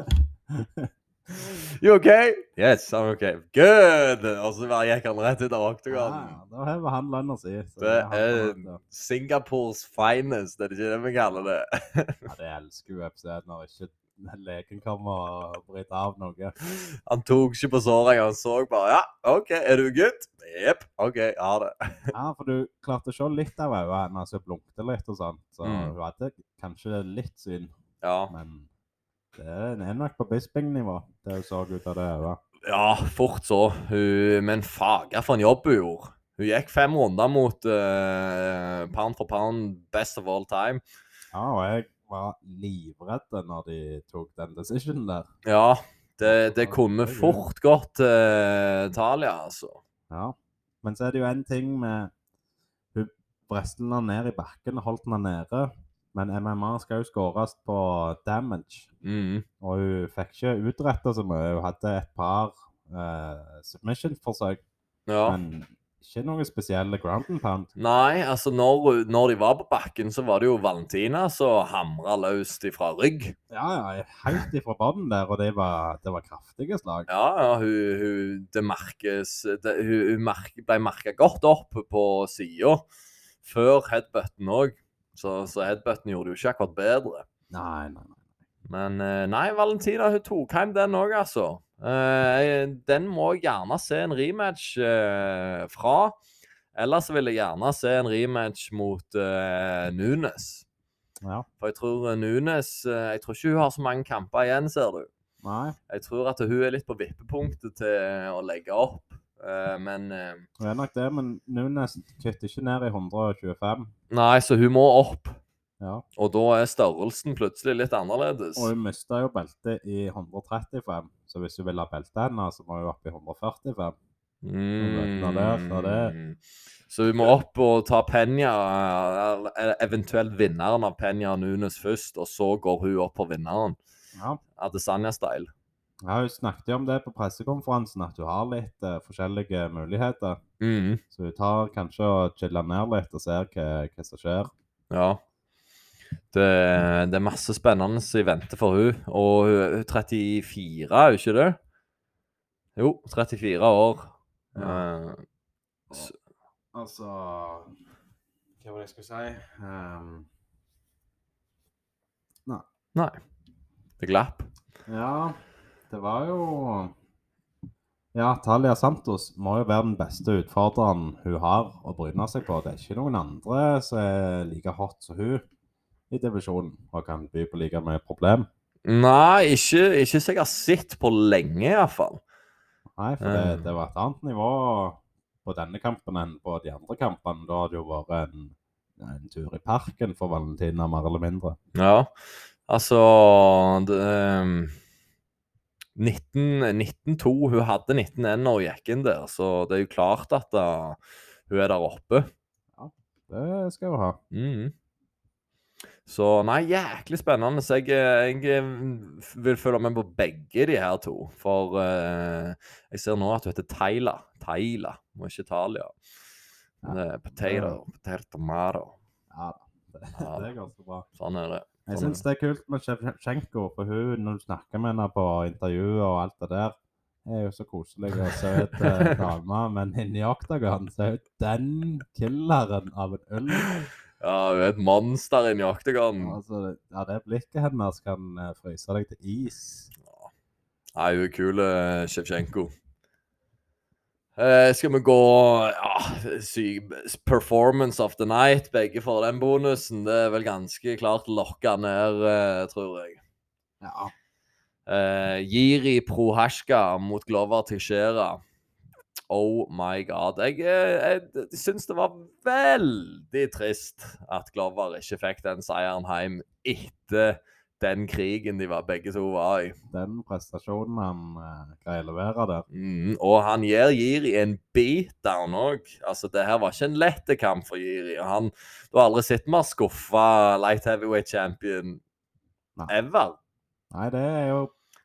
Speaker 1: You okay? Yes, I'm okay. Good! Og så bare gikk han rett ut av oktogonen.
Speaker 2: ja, Ah, da hever han lønna si. så
Speaker 1: Ah, Det
Speaker 2: har
Speaker 1: er
Speaker 2: han hatt det.
Speaker 1: Singapores finest, er det ikke det vi kaller det?
Speaker 2: Ja, det elsker UFC når ikke legen kommer og bryter av noe.
Speaker 1: Han tok ikke på såret, han så bare Ja, OK, er du gutt? Jepp. OK, ha det.
Speaker 2: Ja, for du klarte å se litt av øynene hennes og blunket litt og sånn. Så
Speaker 1: Mm.
Speaker 2: hun hadde kanskje litt syn,
Speaker 1: Ja.
Speaker 2: men det er nok på Bisping-nivå, det hun så ut av det øyet.
Speaker 1: ja, fort så. Hun, men faga for en jobb hun gjorde. Hun gikk fem runder mot eh, pound for pound, best of all time.
Speaker 2: Ja, og jeg var livredd når de tok den decisionen der.
Speaker 1: Ja, det, det kunne fort gått til Italia, altså.
Speaker 2: Ja. Men så er det jo en ting med Hun brestet den ned i bakken og holdt den nede. Men MMA skal jo skåres på damage,
Speaker 1: Mm.
Speaker 2: og hun fikk ikke utretta så mye. Hun hadde et par eh, submission-forsøk,
Speaker 1: Ja.
Speaker 2: men ikke noen spesielle ground and pound.
Speaker 1: Nei, altså når, når de var på bakken, så var det jo Valentina som hamra løst ifra rygg.
Speaker 2: Ja, ja, helt ifra bånn der, og det var, det var kraftige slag.
Speaker 1: Ja, ja, hun, hun Det merkes det, Hun, hun merke, ble merka godt opp på sida før headbutten òg. Så, så headbutten gjorde det jo ikke akkurat bedre.
Speaker 2: Nei, nei, nei.
Speaker 1: Men eh, nei, Valentina hun tok hjem den òg, altså. Eh, Den må jeg gjerne se en rematch eh, fra. Ellers vil jeg gjerne se en rematch mot eh, Nunes.
Speaker 2: Ja.
Speaker 1: For jeg tror eh, Nunes eh, Jeg tror ikke hun har så mange kamper igjen, ser du.
Speaker 2: Nei.
Speaker 1: Jeg tror at hun er litt på vippepunktet til å legge opp. Eh, Men eh,
Speaker 2: Det er nok det, men Nunes kutter ikke ned i 125.
Speaker 1: Nei, så hun må opp.
Speaker 2: Ja.
Speaker 1: Og da er størrelsen plutselig litt annerledes.
Speaker 2: Og hun mista jo beltet i 135, så hvis hun vil ha beltet henne, så må hun opp i 145.
Speaker 1: Mm.
Speaker 2: Nå det, nå det.
Speaker 1: Så hun må opp og ta Penya, eller- eller eventuelt vinneren av Penya og Nunes først, og så går hun opp på vinneren.
Speaker 2: Ja.
Speaker 1: Adesanya-style.
Speaker 2: ja, Hun snakket jo om det på pressekonferansen, at hun har litt eh, forskjellige muligheter.
Speaker 1: Mm.
Speaker 2: Så hun tar kanskje og chiller ned litt og ser hva, hva som skjer.
Speaker 1: Ja. Det, det er masse spennende som i vente for hun. Og hun er 34, er hun ikke det? Jo, 34 år. Eh,
Speaker 2: Altså Hva var det jeg skulle si? Ehm,
Speaker 1: nei. Det glapp.
Speaker 2: ja, det var jo ja, Talia Santos må jo være den beste utfordreren hun har å bryne seg på. Det er ikke noen andre som er like hot som hun i divisjonen og kan by på like mye problem.
Speaker 1: Nei, ikke, ikke som jeg har sett på lenge, iallfall.
Speaker 2: Nei, for det,
Speaker 1: Eh.
Speaker 2: det var et annet nivå på denne kampen enn på de andre kampene. Da hadde det jo vært en, en tur i parken for Valentina, mer eller mindre.
Speaker 1: Ja, altså det, ehm, 19 19-2, hun hadde 19-1 når hun gikk inn der, så det er jo klart at da, hun er der oppe.
Speaker 2: Det skal hun ha.
Speaker 1: Mhm. Så nei, jæklig spennende. Så jeg, eh, jeg eh, vil følge med på begge de her to. For eh, jeg ser nå at hun heter Taila. Taila, og ikke Italia. Men det er Potato, potato tomato.
Speaker 2: Ja da, det,
Speaker 1: Ja.
Speaker 2: det er ganske bra.
Speaker 1: Sånn er det.
Speaker 2: Jeg
Speaker 1: Sånn.
Speaker 2: syns det er kult med Sjevsjenko, for hun, når du snakker med henne på intervjuer og alt det der, er jo så koselig og søt eh, dame, men inni oktagon så er hun den killeren av en ulv.
Speaker 1: Ja, hun er et monster inni oktagon.
Speaker 2: Altså, ja, det blikket hennes kan eh, fryse deg til is.
Speaker 1: Nei, hun er kul, eh, Sjevtsjenko. Eh, skal vi gå ja, syk, Performance of the night. Begge får den bonusen. Det er vel ganske klart lokka ned, eh, tror jeg.
Speaker 2: Ja.
Speaker 1: Eh, Jiri Prohashka mot Glover Teixeira. Oh my god. Jeg, eh, jeg syns det var veldig trist at Glover ikke fikk den seieren hjem etter den krigen de var, begge to var i.
Speaker 2: Den prestasjonen han eh, greier å levere der.
Speaker 1: Mm, og han gir Jiri en beatdown òg. Altså, det her var ikke en lett kamp for Jiri. og Han, du har aldri sett mer skuffa light heavyweight champion
Speaker 2: Nei.
Speaker 1: ever.
Speaker 2: Nei, det er jo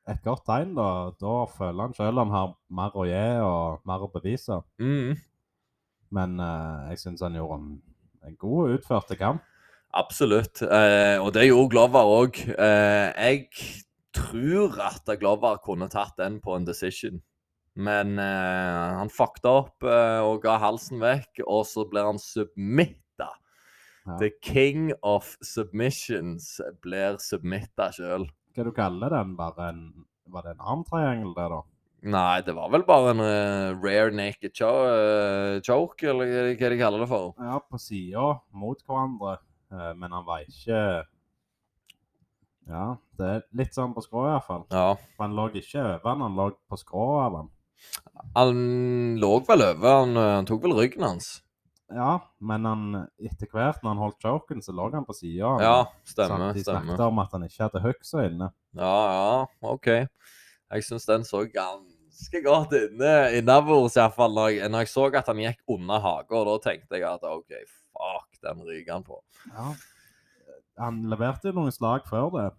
Speaker 2: et godt tegn, da. Da føler han sjøl han har mer å gi og mer å bevise.
Speaker 1: Mm,
Speaker 2: Men eh, jeg syns han gjorde en, en god, utført kamp.
Speaker 1: absolutt. Eh, og det gjorde Glover òg. Eh, jeg tror at Glover kunne tatt den på en decision. Men eh, han fucked opp eh, og ga halsen vekk, og så blir han submitta.
Speaker 2: Ja.
Speaker 1: The king of submissions blir submitta sjøl.
Speaker 2: Hva du kaller den? Bare en, var det en armtriangel, det, da?
Speaker 1: Nei, det var vel bare en eh, rare naked cho eh, choke, eller hva de kaller det for.
Speaker 2: Ja, på sida, mot hverandre. eh, men han var ikke Ja, det er litt sånn på skrå, iallfall.
Speaker 1: Ja.
Speaker 2: Han lå ikke over han, han lå på skrå av han.
Speaker 1: Han lå vel over, han, eh, han tok vel ryggen hans.
Speaker 2: Ja, men han, etter hvert når han holdt choken, så lå han på sida.
Speaker 1: Ja, stemmer.
Speaker 2: De
Speaker 1: stemmer.
Speaker 2: snakket om at han ikke hadde hooksa inne.
Speaker 1: Ja, ja, OK. Jeg syns den så ganske godt inne innabords, iallfall. Når, jeg- når jeg så at han gikk under haga, da tenkte jeg at OK, fuck, den ryker han på.
Speaker 2: Ja. Han leverte jo noen slag før det,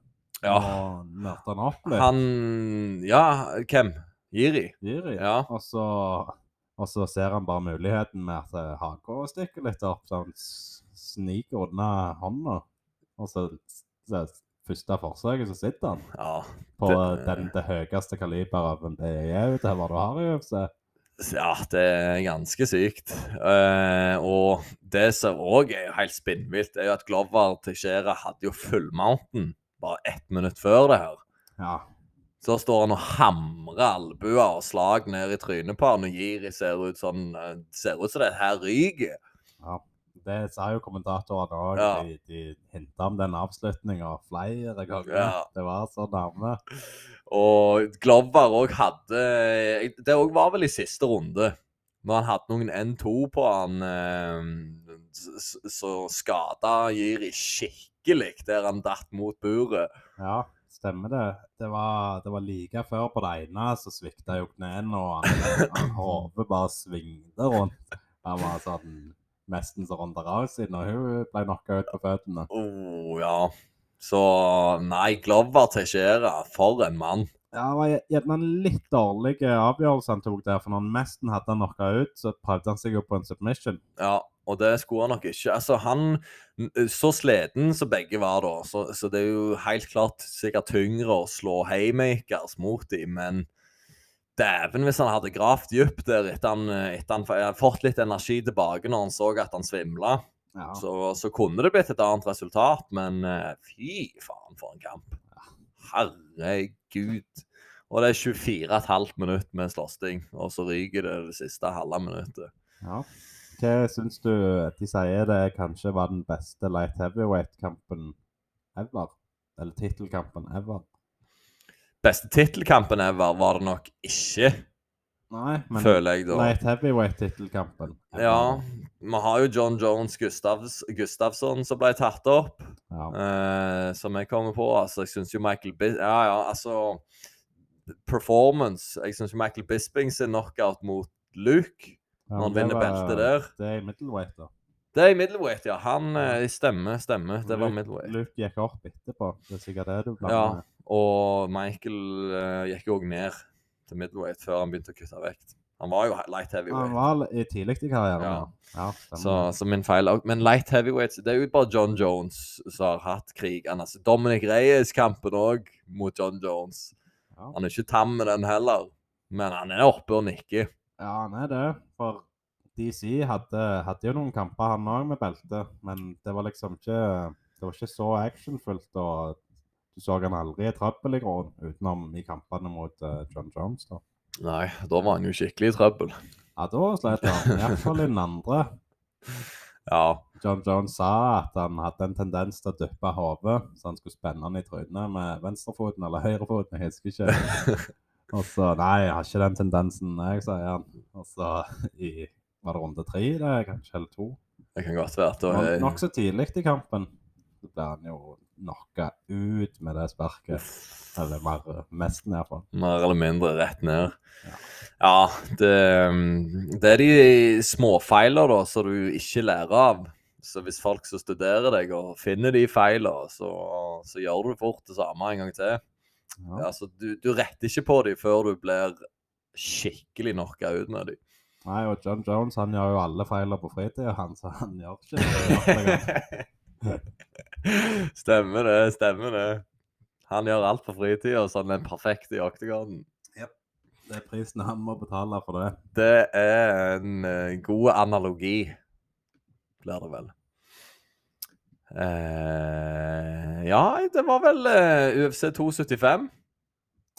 Speaker 1: Ja.
Speaker 2: og mørte han opp litt.
Speaker 1: Han Ja, hvem? Jiri?
Speaker 2: Jiri.
Speaker 1: Ja.
Speaker 2: Og, så, og så ser han bare muligheten med at eh, haka stikker litt opp, så han s- sniker unna hånda. Og så, så første forsøket, så sitter han
Speaker 1: Ja.
Speaker 2: på
Speaker 1: Det-
Speaker 2: den, det høyeste kaliber av en BJU-utøver du har i UFC.
Speaker 1: Ja, det er ganske sykt. Eh, og det som òg er helt spinnvilt, er jo at Glover Teixeira hadde jo full mountain bare ett minutt før det her.
Speaker 2: Ja,
Speaker 1: Så står han og hamrer albuer og slag ned i trynet på han, og Jiri ser ut sånn, eh, ser ut som det her ryker.
Speaker 2: Ja, det sa jo kommentatorene òg.
Speaker 1: Ja.
Speaker 2: De, de hinta om den avslutninga flere ganger.
Speaker 1: Ja.
Speaker 2: Det var så nærme.
Speaker 1: Og Glover òg hadde Det òg var vel i siste runde. Når han hadde noen N2 på han, eh, s- s- så skada Jiri skikkelig der han datt mot buret.
Speaker 2: Ja, stemmer det. Det var, det var like før på det ene, så svikta jo knærne, og han- han hodet bare svingte rundt. Han var sånn nesten så Ronda Rousey når hun ble knocka ut på føttene.
Speaker 1: Oh, ja. Så nei, Glover Teixeira, for en mann.
Speaker 2: Ja, det var gjerne en litt dårlig avgjørelse han tok der, for når han nesten hadde han knocka ut, så prøvde han seg jo på en submission.
Speaker 1: Ja, og det skulle han nok ikke. Altså, han eh, Så sliten som begge var da, så, så det er jo helt klart sikkert tyngre å slå haymakers mot dem, men dæven hvis han hadde gravd dypt der etter han, eh, etter han f- fått litt energi tilbake når han så at han svimla,
Speaker 2: Ja.
Speaker 1: så, så kunne det blitt et annet resultat, men eh, fy faen for en kamp. Herregud. Og det er 24,5 minutter med slåssing, og så ryker det det siste halve minuttet.
Speaker 2: Ja. Hva syns du de sier det kanskje var den beste light heavyweight-kampen ever? Eller tittelkampen ever?
Speaker 1: Beste tittelkampen ever var det nok ikke.
Speaker 2: Nei, men
Speaker 1: føler jeg da.
Speaker 2: Light heavyweight-tittelkampen.
Speaker 1: Ja. Vi har jo John Jones Gustavs, Gustavsson som ble tatt opp,
Speaker 2: Ja.
Speaker 1: eh, som jeg kommer på. Altså, jeg syns jo Michael Bis... Ja, ja, altså Performance. Jeg syns Michael Bisping sin knockout mot Luke,
Speaker 2: Ja,
Speaker 1: når han
Speaker 2: men det
Speaker 1: vinner
Speaker 2: var-
Speaker 1: beltet der
Speaker 2: Det er middleweight, da.
Speaker 1: Det er i middleweight, ja. Han eh, stemmer, stemmer. Det var
Speaker 2: Luke-
Speaker 1: middleweight.
Speaker 2: Luke gikk opp etterpå. Det er sikkert det du blander
Speaker 1: Ja.
Speaker 2: med.
Speaker 1: Og Michael eh, gikk jo òg ned til middleweight før han begynte å kutte vekt. Han var jo he- light
Speaker 2: Han
Speaker 1: heavyweight,
Speaker 2: var l- i tidlig i karrieren.
Speaker 1: Ja.
Speaker 2: Ja. Ja, stemmer.
Speaker 1: så, så min feil òg. Men light heavyweight det er jo bare John Jones som har hatt krigen. Altså, Dominic Reyes-kampen òg mot John Jones.
Speaker 2: Ja.
Speaker 1: Han er ikke tam med den heller, men han er oppe og nikker.
Speaker 2: ja, han er det. For DC hadde, hadde jo noen kamper, han òg, med belte. Men det var liksom ikke Det var ikke så actionfullt. og du så han aldri i trøbbel i grunnen, utenom i kampene mot eh, John Jones. da.
Speaker 1: Nei, da var han jo skikkelig i trøbbel.
Speaker 2: Ja, da slet han. Iallfall i den andre.
Speaker 1: Ja.
Speaker 2: John Jones sa at han hadde en tendens til å dyppe hodet, så han skulle spenne han i trynet med venstrefoten eller høyrefoten, jeg husker ikke. Og så Nei, jeg har ikke den tendensen, jeg, sier han. Og så i Var det runde tre, det? Kanskje eller to?
Speaker 1: Det kan godt være at det
Speaker 2: Nok-
Speaker 1: var
Speaker 2: Nokså tidlig i kampen. Så ble han jo knocka ut med det sparket. Eller mer, nesten, iallfall.
Speaker 1: mer eller mindre rett ned.
Speaker 2: Ja.
Speaker 1: Ja, det, mm, det er de småfeiler da, som du ikke lærer av. Så hvis folk som studerer deg og finner de feilene, så, så gjør du fort det samme en gang til.
Speaker 2: Ja.
Speaker 1: Altså, du, du retter ikke på dem før du blir skikkelig knocka ut med dem.
Speaker 2: Nei, og John Jones han gjør jo alle feiler på fritida, han, så han gjør ikke det. ofte.
Speaker 1: stemmer det, stemmer det. Han gjør alt på fritida, så han er den perfekte i oktegarden.
Speaker 2: Det er prisen han må betale for det.
Speaker 1: Det er en eh, god analogi, blir det vel. Eh, ja, det var vel eh, UFC 275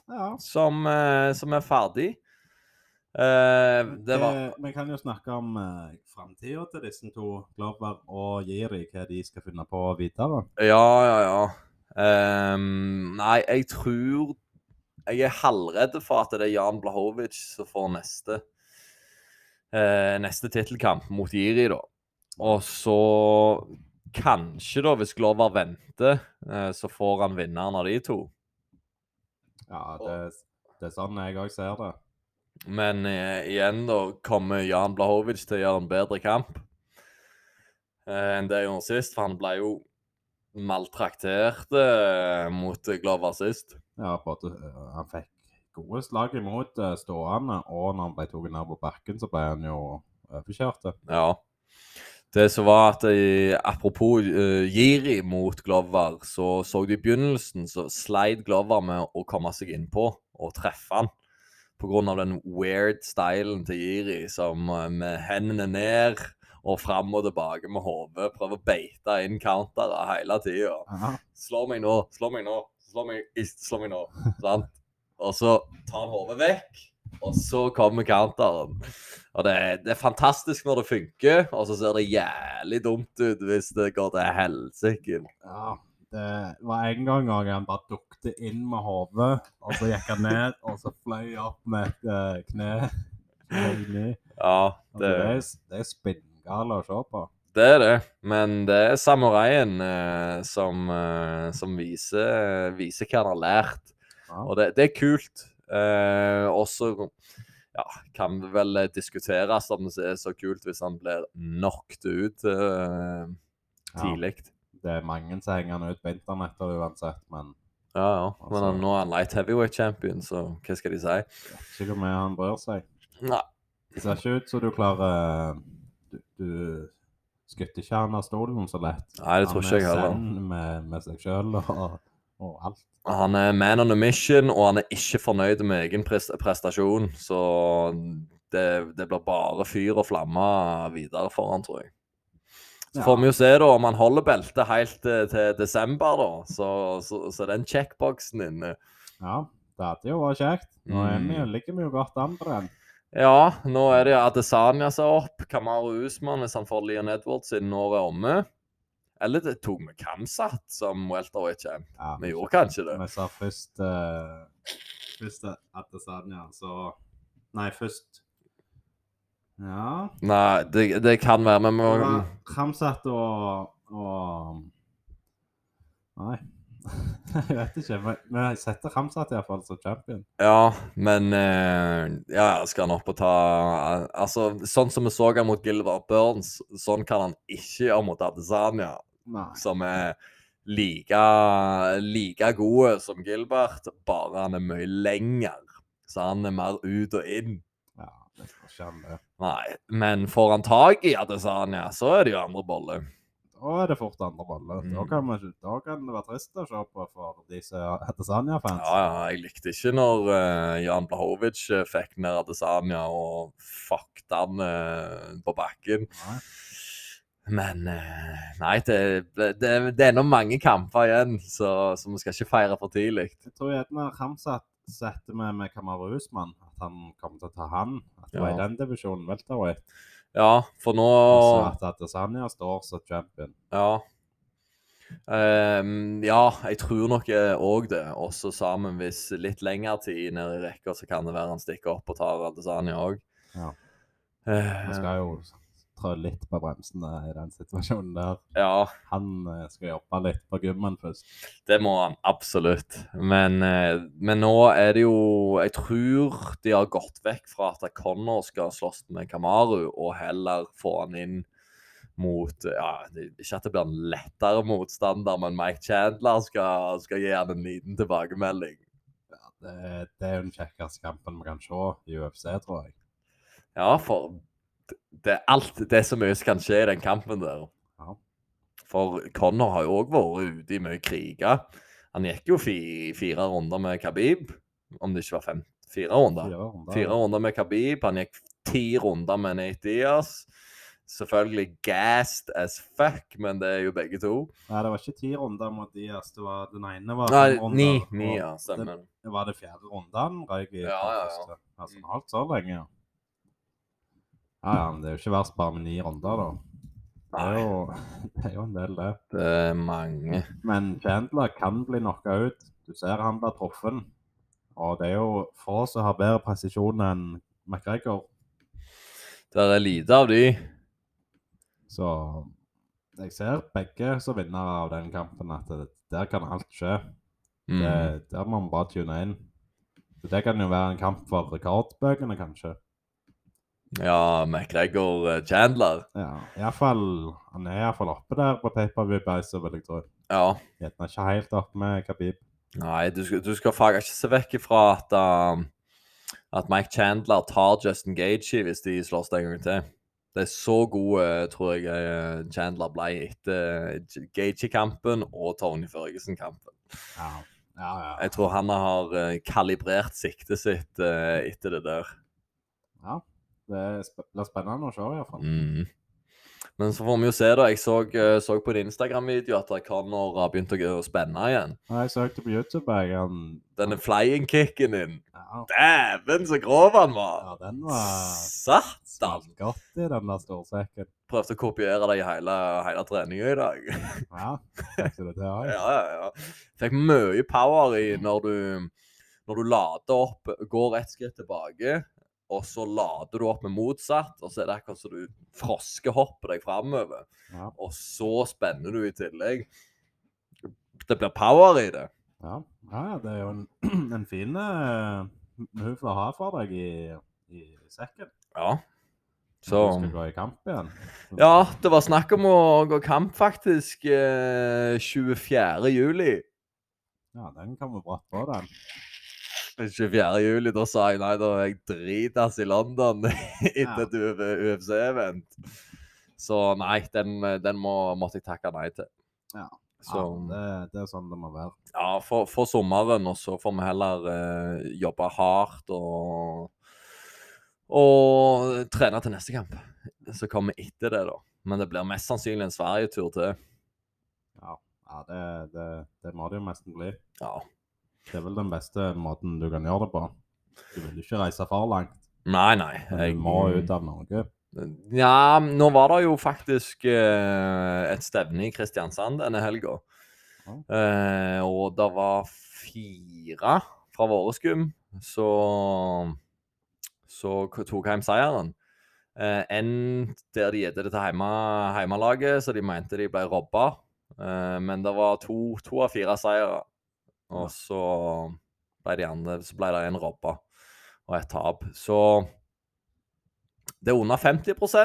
Speaker 2: Ja.
Speaker 1: som, eh, som er ferdig. Eh, det var
Speaker 2: Eh, Vi kan jo snakke om uh, framtida til disse to, Glover og Jiri, hva de skal finne på videre.
Speaker 1: Ja, ja, ja. Ehm, nei, jeg tror Jeg er halvredd for at det er Jan Blahovic som får neste eh, Neste tittelkamp mot Jiri, da. Og så Kanskje, da, hvis Glover venter, eh, så får han vinneren av de to.
Speaker 2: Ja, det, det er sånn jeg òg ser det.
Speaker 1: Men eh, igjen, da, kommer Jan Blahovic til å gjøre en bedre kamp eh, enn det han gjorde sist? For han ble jo maltraktert eh, mot Glover sist.
Speaker 2: Ja, både, eh, Han fikk gode slag imot eh, stående, og når han ble tatt ned på bakken, så ble han jo overkjørt.
Speaker 1: Ja. Det som var at eh, apropos eh, Jiri mot Glover, så så du i begynnelsen så sleit Glover med å komme seg innpå og treffe han. På grunn av den weird stylen til Jiri, som eh, med hendene ned og fram og tilbake med hodet prøver å beite inn countere hele tida.
Speaker 2: Ja.
Speaker 1: Slå meg nå, slå meg nå, slå meg, is- slå meg nå. Sant? Og så tar han hodet vekk, og så kommer counteren. Og det, er- det er fantastisk når det funker, og så ser det jævlig dumt ut hvis det går til helsike.
Speaker 2: ja. Det var en gang også han bare dukte inn med hodet, og så gikk han ned, og så fløy opp med et eh, kne. Ned.
Speaker 1: Ja,
Speaker 2: Altså, det
Speaker 1: det,
Speaker 2: er, det er spinngale å se på.
Speaker 1: det er det. Men det er samuraien eh, som, eh, som viser, viser hva han har lært.
Speaker 2: Ja.
Speaker 1: Og det, det er kult. Eh, også ja, kan det vel diskuteres om det er så kult hvis han blir knocked ut eh,
Speaker 2: Ja.
Speaker 1: tidlig.
Speaker 2: det er mange som henger han ut på internett og uansett, men
Speaker 1: Ja, ja. Men
Speaker 2: Altså-
Speaker 1: nå er han light heavyweight champion, så hva skal de si?
Speaker 2: ikke hvor mye han bryr seg.
Speaker 1: Nei.
Speaker 2: Det ser ikke ut som du klarer Du, du skutter ikke han av stolen så lett.
Speaker 1: Nei, det tror ikke jeg heller.
Speaker 2: Han er zen med, med seg sjøl og, og alt.
Speaker 1: Han er man on a mission, og han er ikke fornøyd med egen pres- prestasjon. Så det, det blir bare fyr og flamme videre for han, tror jeg. Så
Speaker 2: Ja.
Speaker 1: får vi jo se da om han holder beltet helt til, til desember, da. Så, så, så er den eh. checkboxen inne.
Speaker 2: Ja, det hadde jo vært kjekt. Nå er vi,
Speaker 1: Mm.
Speaker 2: ligger vi jo godt an på den.
Speaker 1: Ja, nå er det Adesanya som er opp. Kamaru Usman hvis han får Leon Edwards innen året er omme. Eller det tok vi Kamsat som welterweight champ.
Speaker 2: Ja,
Speaker 1: Vi gjorde kanskje det.
Speaker 2: Vi sa først eh, Først Adesanya, så Nei, først Ja
Speaker 1: Nei, det, det kan være, men
Speaker 2: Det
Speaker 1: vi må
Speaker 2: var Kramsat og, og Nei. Jeg vet ikke. Men men jeg setter Kramsat iallfall som champion.
Speaker 1: Ja, men eh, Ja, skal han opp og ta Altså, sånn som vi så han mot Gilbert Burns, sånn kan han ikke gjøre mot Adesanya,
Speaker 2: Nei.
Speaker 1: som er like, like god som Gilbert, bare han er mye lenger. Så han er mer ut og inn.
Speaker 2: Ja, det tror ikke han det.
Speaker 1: Nei, men får han tak i Adesanya, så er det jo andre bolle.
Speaker 2: Da er det fort andre baller. Da,
Speaker 1: Mm.
Speaker 2: kan man ikke, da kan det være trist å se på for de som er
Speaker 1: Ja,
Speaker 2: Adesanya-fans.
Speaker 1: ja, jeg likte ikke når eh, Jan Blahovic eh, fikk ned Adesanya og fucket han eh, på bakken.
Speaker 2: Nei.
Speaker 1: Men eh, nei, det, det, det er ennå mange kamper igjen, så, så vi skal ikke feire for tidlig.
Speaker 2: Jeg tror gjerne Kramsat setter meg med Kamaru Usman, at han kommer til å ta han. At det var i
Speaker 1: Ja.
Speaker 2: den divisjonen, welterweight.
Speaker 1: Ja, for nå
Speaker 2: Og så at Adesanya står som champion.
Speaker 1: Ja. Ehm, ja, jeg tror nok òg det. Også sammen, hvis litt lengre tid nede i rekka, så kan det være han stikker opp og tar Adesanya Ehm, òg.
Speaker 2: Ja. Vi skal jo trå litt på bremsene i den situasjonen der.
Speaker 1: ja,
Speaker 2: Han eh, skal jobbe litt på gymmen først.
Speaker 1: Det må han absolutt. Men, eh, men nå er det jo Jeg tror de har gått vekk fra at Connor skal slåss med Kamaru, og heller få han inn mot eh, ja, det- Ikke at det blir en lettere motstander, men Mike Chandler skal, skal gi han en liten tilbakemelding.
Speaker 2: Ja, det, det er jo den kjekkeste kampen vi kan se i UFC, tror jeg.
Speaker 1: Ja, for det- det er alt det er så mye som kan skje i den kampen der.
Speaker 2: Ja.
Speaker 1: For Connor har jo òg vært ute i mye kriger. Han gikk jo fi, fire runder med Khabib, om det ikke var fem. Fire runder.
Speaker 2: Fire runder.
Speaker 1: Fire runder med Khabib. Han gikk ti runder med Nate Diaz. Selvfølgelig gassed as fuck, men det er jo begge to.
Speaker 2: Nei, det var ikke ti runder mot Diaz. Det var den ene var
Speaker 1: Nei,
Speaker 2: fem runder,
Speaker 1: ni.
Speaker 2: og
Speaker 1: Ni, ja. Stemmer.
Speaker 2: Det var det fjerde runden, røyk i.
Speaker 1: Ja, ja, ja. Mm.
Speaker 2: første. Altså, han har holdt så lenge, ja. Ja, ja, men det er jo ikke verst bare med ni runder, da. Det er
Speaker 1: Nei,
Speaker 2: jo, det er jo en del, det.
Speaker 1: det er mange.
Speaker 2: Men Chandler kan bli knocka ut. Du ser han blir truffet. Og det er jo få som har bedre presisjon enn McGregor.
Speaker 1: Det er lite av de.
Speaker 2: Så jeg ser begge som vinnere av den kampen, at det, der kan alt skje. Det,
Speaker 1: Mm.
Speaker 2: der må man bare tune inn. Så det kan jo være en kamp for rekordbøkene, kanskje.
Speaker 1: Ja, McGregor eh, Chandler.
Speaker 2: Ja, i hvert fall, Han er iallfall oppe der på Paperview Bicer, vil jeg tro.
Speaker 1: Ja.
Speaker 2: Gjerne ikke helt oppe med Khabib.
Speaker 1: Nei, du skal, du skal faen ikke se vekk ifra at, um, at Mike Chandler tar Justin Gagey hvis de slåss en gang til. Det er så god, eh, tror jeg, eh, Chandler ble etter Gagey-kampen og Tony Førgesen-kampen.
Speaker 2: Ja, ja, ja.
Speaker 1: Jeg tror han har eh, kalibrert siktet sitt eh, etter det der.
Speaker 2: Det er sp- det blir spennende å se, iallfall.
Speaker 1: Mm. Men så får vi jo se, da. Jeg så, eh, så på en Instagram-video at Connor har begynt å gå- å spenne igjen.
Speaker 2: Ja, jeg søkte på YouTube. Jeg, han,
Speaker 1: Denne flying kicken din.
Speaker 2: ja,
Speaker 1: Dæven, så grov han var!
Speaker 2: ja, den var
Speaker 1: Satan!
Speaker 2: smalt godt i den der storsekken.
Speaker 1: Prøvde å kopiere det i hele, hele treninga i dag.
Speaker 2: Ja, fikk du det til
Speaker 1: Ja,
Speaker 2: òg?
Speaker 1: ja, ja. Fikk mye power i når du, når du lader opp, går et skritt tilbake, og så lader du opp med motsatt, og så er det akkurat som du froskehopper deg framover.
Speaker 2: Ja.
Speaker 1: Og så spenner du i tillegg. Det blir power i det.
Speaker 2: Ja. ja, det er jo en, en fin uh, move å ha for deg i, i sekken.
Speaker 1: Ja.
Speaker 2: Når
Speaker 1: Så
Speaker 2: Du skal gå i kamp igjen.
Speaker 1: Sånn. Ja, det var snakk om å gå kamp, faktisk. eh, 24. juli.
Speaker 2: Ja, den kommer brått på, den.
Speaker 1: 24. juli, da sa jeg nei, da er jeg dritass i London etter et U- UFC-event. Så nei, den, den må, måtte jeg takke nei til.
Speaker 2: Ja.
Speaker 1: Så,
Speaker 2: Ja, det, det er sånn det må være.
Speaker 1: ja, for, for sommeren, og så får vi heller eh, jobbe hardt og Og trene til neste kamp. Så kommer vi etter det, da. Men det blir mest sannsynlig en Sverigetur til.
Speaker 2: Ja, det, det, det må det jo nesten bli.
Speaker 1: Ja.
Speaker 2: Det er vel den beste måten du kan gjøre det på. Du vil ikke reise for langt.
Speaker 1: Nei, nei.
Speaker 2: men Du må ut av Norge.
Speaker 1: Ja, nå var det jo faktisk eh, et stevne i Kristiansand denne helga.
Speaker 2: Ja.
Speaker 1: Eh, og det var fire fra våre skum, så så k- tok hjem seieren. Eh, en der de gjorde det til heima, heimalaget, så de mente de ble robba. Eh, men det var to, to av fire seire. Og så ble, de andre, så ble det en robba og et tap. Så det er under 50 så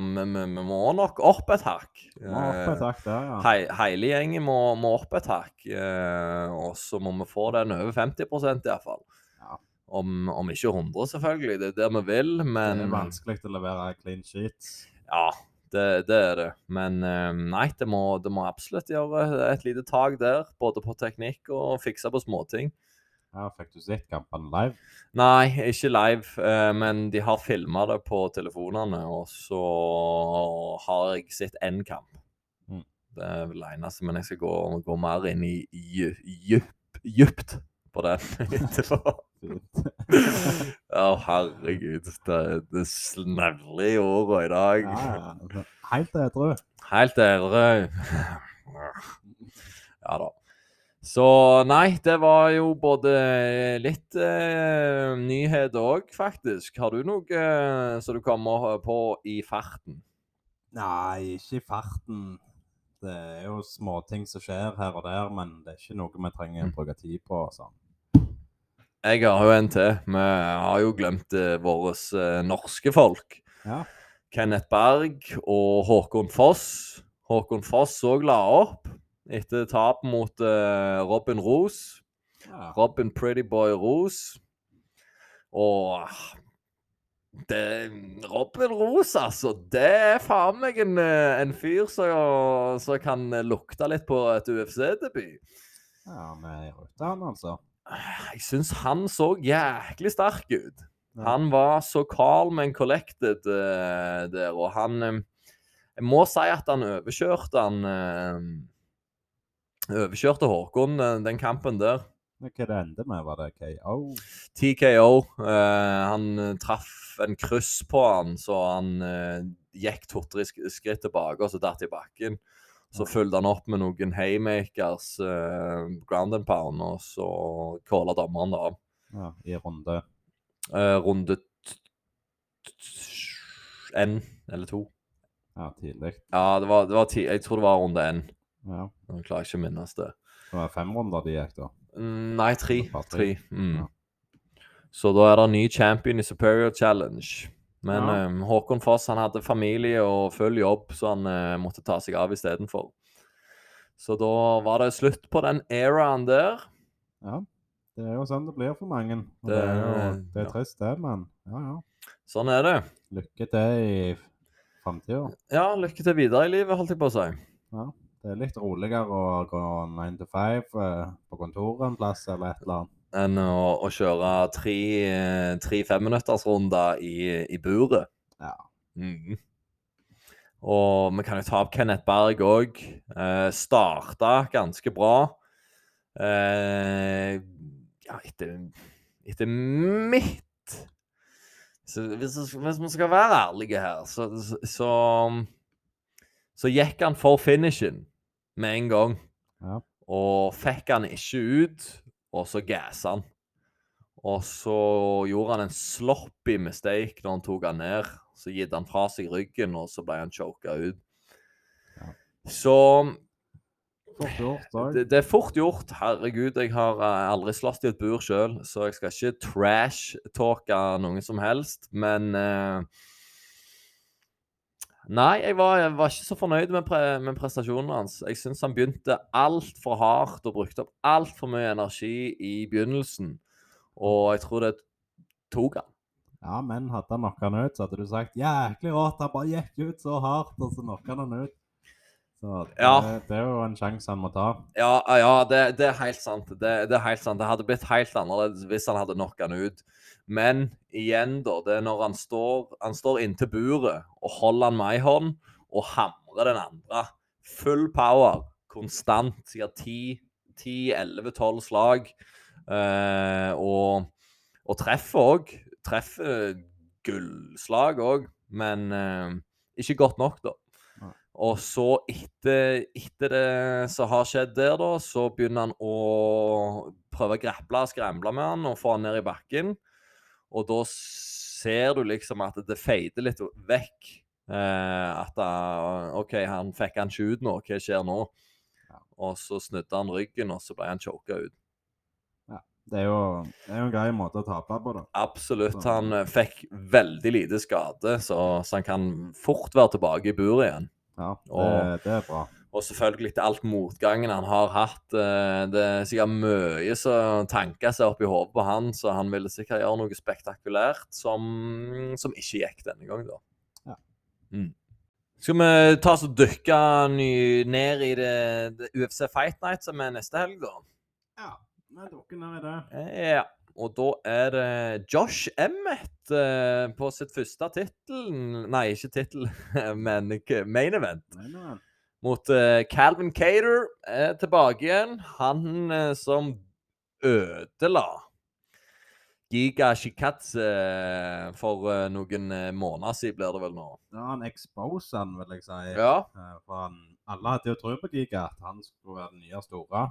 Speaker 1: vi, vi, vi må nok opp et hakk.
Speaker 2: Må opp
Speaker 1: Eh,
Speaker 2: et hakk der, ja.
Speaker 1: Hei, hele gjengen må, må opp et hakk, eh, og så må vi få den over 50 iallfall.
Speaker 2: Ja.
Speaker 1: Om, om ikke 100, selvfølgelig. Det er der vi vil, men
Speaker 2: det er vanskelig å levere clean sheets.
Speaker 1: Ja, det, det er det. Men eh, nei, det må, det må absolutt gjøre et lite tak der. Både på teknikk og fikse på småting.
Speaker 2: Her fikk du sett kampene live.
Speaker 1: Nei, ikke live, eh, men de har filma det på telefonene, og så har jeg sett én kamp.
Speaker 2: Mm.
Speaker 1: Det er vel det eneste, men jeg skal gå, gå mer inn i dju- djup- djupt på den etterpå.
Speaker 2: Fint.
Speaker 1: Å, herregud. Det, det snevler i åra i dag.
Speaker 2: Ja, ja. altså. Helt edru.
Speaker 1: Helt ærlig. Ja da. Så nei, det var jo både litt eh, nyhet òg, faktisk. Har du noe eh, som du kommer på i farten?
Speaker 2: Nei, ikke i farten. Det er jo småting som skjer her og der, men det er ikke noe vi trenger å bruke tid på. og Sånn.
Speaker 1: Jeg har jo en til. Vi har jo glemt eh, våre eh, norske folk.
Speaker 2: Ja.
Speaker 1: Kenneth Berg og Håkon Foss. Håkon Foss òg la opp etter tap mot eh, Robin Roos.
Speaker 2: Ja.
Speaker 1: Robin Prettyboy Rose. Og ah, det, Robin Rose, altså. Det er faen meg en, eh, en fyr som, som kan eh, lukte litt på et UFC-debut.
Speaker 2: ja, vi er i rute, han altså.
Speaker 1: Jeg syns han så jæklig sterk ut.
Speaker 2: Ja.
Speaker 1: Han var så calm and collected eh, der, og han eh, Jeg må si at han overkjørte han eh, Overkjørte Håkon eh, den kampen der.
Speaker 2: Men Hva det endte med, var det KO?
Speaker 1: TKO. eh, han eh, traff en kryss på han, så han eh, gikk to-tre sk skritt tilbake, og så datt i bakken. Så fulgte han opp med noen haymakers, eh, ground and pound, og så calla dommeren det av.
Speaker 2: Ja, I runde.
Speaker 1: Eh, runde t- t- t- én eller to.
Speaker 2: Ja, tidlig.
Speaker 1: Ja, det var, det var ti Jeg tror det var runde én.
Speaker 2: Ja.
Speaker 1: Nå klarer jeg ikke å minnes det.
Speaker 2: Det var fem runder de gikk, da.
Speaker 1: Mm, Nei, tre.
Speaker 2: Bare tre.
Speaker 1: tre. Mm.
Speaker 2: Ja.
Speaker 1: Så da er det ny champion i Superior Challenge. Men
Speaker 2: Ja.
Speaker 1: eh, Håkon Foss han hadde familie og full jobb, så han eh, måtte ta seg av istedenfor. Så da var det slutt på den eraen der.
Speaker 2: Ja. Det er jo sånn det blir for mange. Og det, er jo det er
Speaker 1: ja.
Speaker 2: trist, det, men ja, ja.
Speaker 1: Sånn er det.
Speaker 2: Lykke til i framtida.
Speaker 1: Ja, lykke til videre i livet, holdt jeg på å si.
Speaker 2: Det er litt roligere å gå 9 to 5 eh, på kontoret en plass eller et eller annet.
Speaker 1: Enn å, å kjøre tre, eh, tre femminuttersrunder i, i buret.
Speaker 2: Ja.
Speaker 1: Mhm. Og vi kan jo ta opp Kenneth Berg òg. Eh, starta ganske bra. Eh, ja, etter, etter mitt så hvis, hvis vi skal være ærlige her, så, så, så Så gikk han for finishen med en gang.
Speaker 2: Ja.
Speaker 1: Og fikk han ikke ut, og så gassa han. Og så gjorde han en sloppy mistake når han tok han ned. Så gitt han fra seg ryggen, og så ble han choka ut.
Speaker 2: Ja.
Speaker 1: Så
Speaker 2: Fort gjort òg.
Speaker 1: det, det er fort gjort. Herregud, jeg har eh, aldri slåss i et bur sjøl, så jeg skal ikke trash-talke noen som helst, men eh, Nei, jeg var, jeg var ikke så fornøyd med, pre med prestasjonen hans. Jeg syns han begynte altfor hardt og brukte opp altfor mye energi i begynnelsen, og jeg tror det tok han.
Speaker 2: Ja, men hadde han knocka han ut, så hadde du sagt 'jæklig rått', han bare gikk ut så hardt, og så knocka han han ut. Så det,
Speaker 1: Ja.
Speaker 2: det er jo en sjanse han må ta.
Speaker 1: Ja, ja det, det er helt sant. Det, det er helt sant. Det hadde blitt helt annerledes hvis han hadde knocka han ut. Men igjen, da. Det er når han står, han står inntil buret og holder han med ei hånd og hamrer den andre. Full power. Konstant. Sikkert 10-11-12 slag. Eh, og, og treffer òg. Treffer gullslag òg, men eh, ikke godt nok, da. Og så etter, etter det som har skjedd der, da, så begynner han å prøve å grapple og skremble med han og få han ned i bakken. Og da ser du liksom at det fader litt vekk. Eh, at eh, OK, han fikk han ikke ut nå, hva skjer nå?
Speaker 2: Ja.
Speaker 1: Og så snudde han ryggen, og så ble han choka ut.
Speaker 2: Det er jo, det er jo en grei måte å tape på, da.
Speaker 1: Absolutt.
Speaker 2: Så-
Speaker 1: Han eh, fikk veldig lite skade, så, så han kan fort være tilbake i buret igjen.
Speaker 2: Ja, det,
Speaker 1: Og-
Speaker 2: det er bra.
Speaker 1: Og selvfølgelig til alt motgangen han har hatt. eh, Det er sikkert mye som tanker seg opp i hodet på han, så han ville sikkert gjøre noe spektakulært som, som ikke gikk denne gangen, da.
Speaker 2: Ja.
Speaker 1: Mm. Skal vi ta oss og dykke ny- ned i det, det UFC Fight Night som er neste helg, da?
Speaker 2: Ja, vi dukker ned i det.
Speaker 1: Ja. Og da er det Josh Emmett eh, på sitt første tittel Nei, ikke tittel, men k- main event
Speaker 2: Nei, nei.
Speaker 1: mot eh, Calvin Cater er tilbake igjen. Han eh, som ødela Giga Shikatse for eh, noen eh, måneder siden, blir det vel nå.
Speaker 2: Ja, han exposer han, vil jeg si.
Speaker 1: Ja.
Speaker 2: Eh, For han, alle hadde jo tro på Giga, at han skulle være den nye store.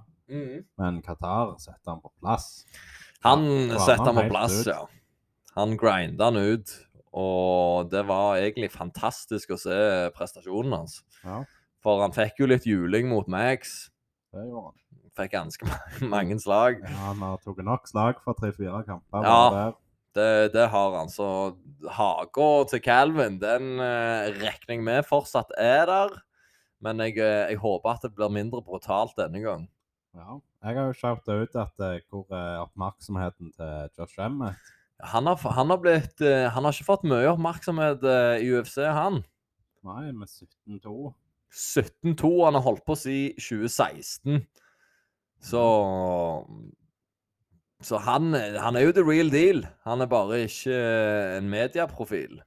Speaker 2: Men Qatar setter han på plass.
Speaker 1: Han
Speaker 2: Ja,
Speaker 1: setter
Speaker 2: han
Speaker 1: han på
Speaker 2: helt
Speaker 1: plass,
Speaker 2: ut.
Speaker 1: ja. Han grinda han ut. Og det var egentlig fantastisk å se prestasjonen hans.
Speaker 2: Ja,
Speaker 1: For han fikk jo litt juling mot Max.
Speaker 2: det gjorde han.
Speaker 1: Fikk ganske ma- mange slag.
Speaker 2: Ja, han har tatt nok slag for tre-fire kamper.
Speaker 1: Ja.
Speaker 2: bare der.
Speaker 1: Det, det har han. Så haka til Calvin, den eh, regner jeg med fortsatt er der. Men jeg, eh, jeg håper at det blir mindre brutalt denne gang.
Speaker 2: ja. Jeg har jo shouta ut at eh, hvor er oppmerksomheten til Josh Emmett?
Speaker 1: Han har, f- han har, blitt, eh, han har ikke fått mye oppmerksomhet eh, i UFC, han.
Speaker 2: Nei, med 17-2.
Speaker 1: 17-2, han har holdt på siden 2016. Så Så han, eh, han er jo the real deal. Han er bare ikke eh, en medieprofil.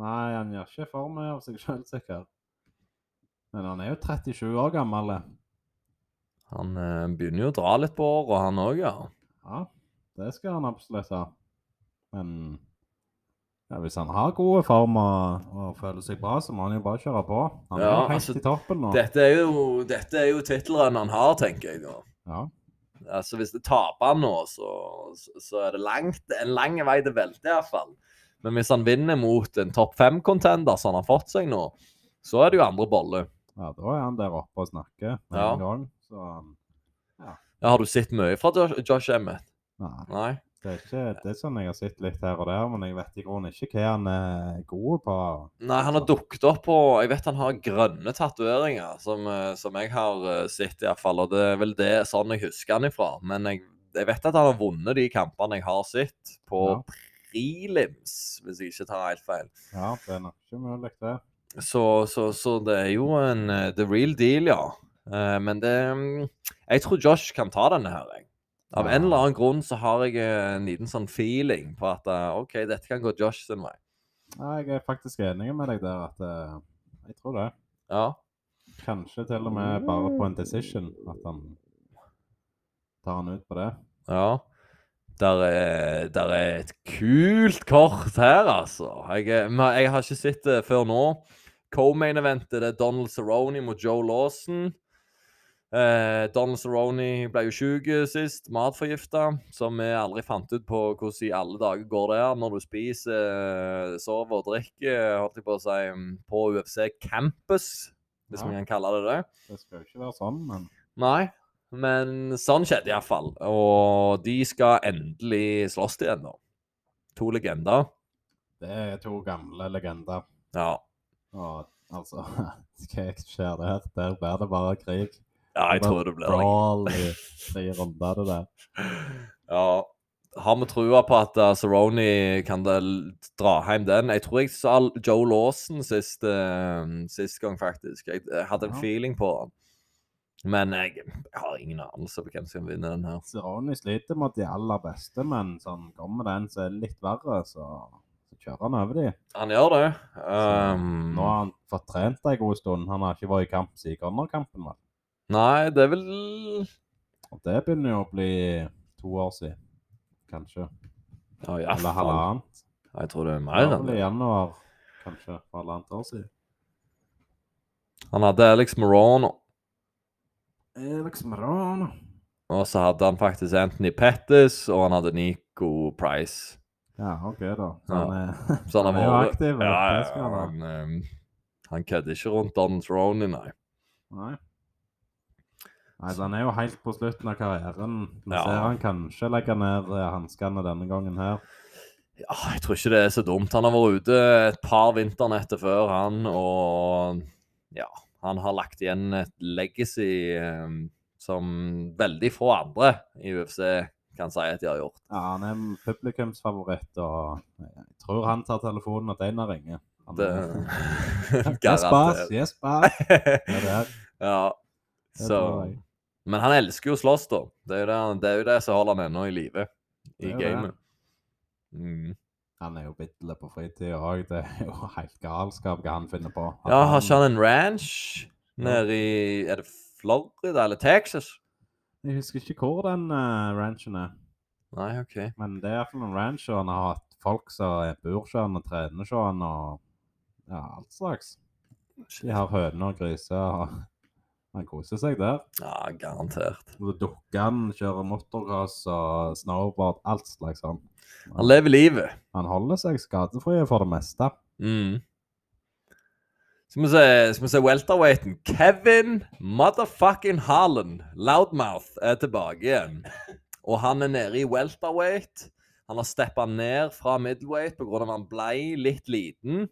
Speaker 2: Nei, han gjør ikke for mye av seg sjøl, sikkert. Men han er jo 37 år gammel. eh.
Speaker 1: Han eh, begynner jo å dra litt på året, han òg, ja.
Speaker 2: Ja, det skal han absolutt ha. Men ja, hvis han har gode form og, og føler seg bra, så må han jo bare kjøre på. Han er
Speaker 1: Ja,
Speaker 2: jo helt
Speaker 1: altså,
Speaker 2: i toppen nå.
Speaker 1: Dette er jo, dette er jo tittelrun han har, tenker jeg. da.
Speaker 2: Ja.
Speaker 1: Altså, Hvis det taper han nå, så, så- så er det langt, en lang vei til velte, iallfall. Men hvis han vinner mot en topp fem-contender som han har fått seg nå, så er det jo andre bolle.
Speaker 2: ja, da er han der oppe og snakker med
Speaker 1: Ja.
Speaker 2: en gang. Så
Speaker 1: Ja, har du sett mye fra Josh, Josh Emmett?
Speaker 2: nei,
Speaker 1: Nei?
Speaker 2: det er ikke det er sånn jeg har sett litt her og der, men jeg vet i grunnen ikke hva han eh, er god på.
Speaker 1: Nei, han har dukket opp på Jeg vet han har grønne tatoveringer, som, eh, som jeg har eh, sett, iallfall. Og det er vel det sånn jeg husker han ifra. Men jeg, jeg vet at han har vunnet de kampene jeg har sett, på prelims, hvis jeg ikke tar helt feil.
Speaker 2: Ja, det er nok ikke mulig, det.
Speaker 1: Så, så, så det er jo en eh, the real deal, ja. Eh, men det mm, Jeg tror Josh kan ta denne her, jeg. Av en
Speaker 2: Ja.
Speaker 1: eller annen grunn så har jeg eh, en liten sånn feeling på at eh, OK, dette kan gå Josh sin vei.
Speaker 2: Nei, jeg er faktisk enig med deg der at eh, Jeg tror det.
Speaker 1: Ja.
Speaker 2: Kanskje til og med bare på en decision at han tar han ut på det.
Speaker 1: ja. Der er, der er et kult kort her, altså. Jeg, er- men jeg har ikke sett det før nå. Co-main-eventet det er Donald Cerrone mot Joe Lawson. Eh, Donald Cerrone ble jo syk sist, matforgifta, som vi aldri fant ut på hvordan i alle dager går det her når du spiser, eh, sover og drikker, holdt jeg på å si, mm, på UFC Campus, hvis
Speaker 2: Ja.
Speaker 1: man kan kalle det det.
Speaker 2: Det skal jo ikke være sånn, men
Speaker 1: Nei, men sånn skjedde iallfall. Og de skal endelig slåss igjen, da. To legender.
Speaker 2: det er to gamle legender.
Speaker 1: Ja.
Speaker 2: Og altså Hva skjer der? Der blir det bare krig.
Speaker 1: ja, jeg
Speaker 2: Det var
Speaker 1: tror det blir det.
Speaker 2: Brawl i tre runder, det der.
Speaker 1: Ja. Har vi trua på at uh, Cerrone kan da l- dra hjem den? Jeg tror jeg sa l- Joe Lawson sist, eh, sist gang, faktisk. Jeg, jeg hadde en
Speaker 2: Ja.
Speaker 1: feeling på han. Men jeg, jeg har ingen anelse på hvem som vinner den her.
Speaker 2: Cerrone sliter mot de aller beste, men sånn kommer det en som er litt verre, så, så kjører han over de.
Speaker 1: Han gjør det.
Speaker 2: Så
Speaker 1: Um,
Speaker 2: Nå har han fått trent en god stund. Han har ikke vært i kamp siden Connor-kampen. vel?
Speaker 1: Nei, det er vel
Speaker 2: Og det begynner jo å bli to år siden, kanskje.
Speaker 1: Ja, i hvert
Speaker 2: Eller
Speaker 1: fall.
Speaker 2: halvannet.
Speaker 1: Jeg tror det er
Speaker 2: Det
Speaker 1: mer
Speaker 2: var
Speaker 1: enn
Speaker 2: vel i
Speaker 1: det.
Speaker 2: januar, kanskje, for halvannet år siden.
Speaker 1: Han hadde Alex Morone,
Speaker 2: Alex Marano.
Speaker 1: og så hadde han faktisk Anthony Pettis, og han hadde Nico Price.
Speaker 2: Ja, OK, da. Så han er,
Speaker 1: Så han
Speaker 2: Han er
Speaker 1: har
Speaker 2: jo
Speaker 1: vært
Speaker 2: aktiv.
Speaker 1: ja, ja,
Speaker 2: det skal han være.
Speaker 1: han, ehm, han kødder ikke rundt Don Throne, nei.
Speaker 2: Nei. Nei, så han er jo helt på slutten av karrieren. Vi
Speaker 1: Ja.
Speaker 2: ser han kanskje legge ned eh, hanskene denne gangen her.
Speaker 1: Ja, jeg tror ikke det er så dumt. Han har vært ute et par vinternetter før, han, og ja, han har lagt igjen et legacy ehm, som veldig få andre i UFC kan si at de har gjort.
Speaker 2: Ja, han er en publikumsfavoritt, og jeg tror han tar telefonen at Einar ringer. Han
Speaker 1: Det,
Speaker 2: er- Yes, boss!
Speaker 1: garantert.
Speaker 2: Yes, boss! Det er det.
Speaker 1: ja.
Speaker 2: Det
Speaker 1: Så,
Speaker 2: tror jeg.
Speaker 1: men han elsker jo å slåss, da. Det er jo det, han- det, er jo det som holder han ennå i live i
Speaker 2: Det er jo det.
Speaker 1: gamet. Mm.
Speaker 2: Han er jo bidle på fritida òg. Det er jo helt galskap hva han finner på.
Speaker 1: Ja, har ikke han en ranch nede i Er det Florida eller Texas?
Speaker 2: Jeg husker ikke hvor den eh, ranchen er,
Speaker 1: Nei, OK.
Speaker 2: men det er iallfall en ranch, og han har hatt folk som er- bor hos han og trener hos han og ja, alt slags. De har høner og griser. og Han koser seg der.
Speaker 1: Ja, garantert.
Speaker 2: Og så dukker han, kjører motocross og snowboard, alt slags sånn.
Speaker 1: Han lever livet.
Speaker 2: Han holder seg skadefri for det meste.
Speaker 1: Mm. Skal vi se, skal vi se welterweighten. Kevin motherfucking Harlan, loudmouth, er tilbake igjen. Og han er nede i welterweight. Han har steppa ned fra middleweight pga. at han blei litt liten.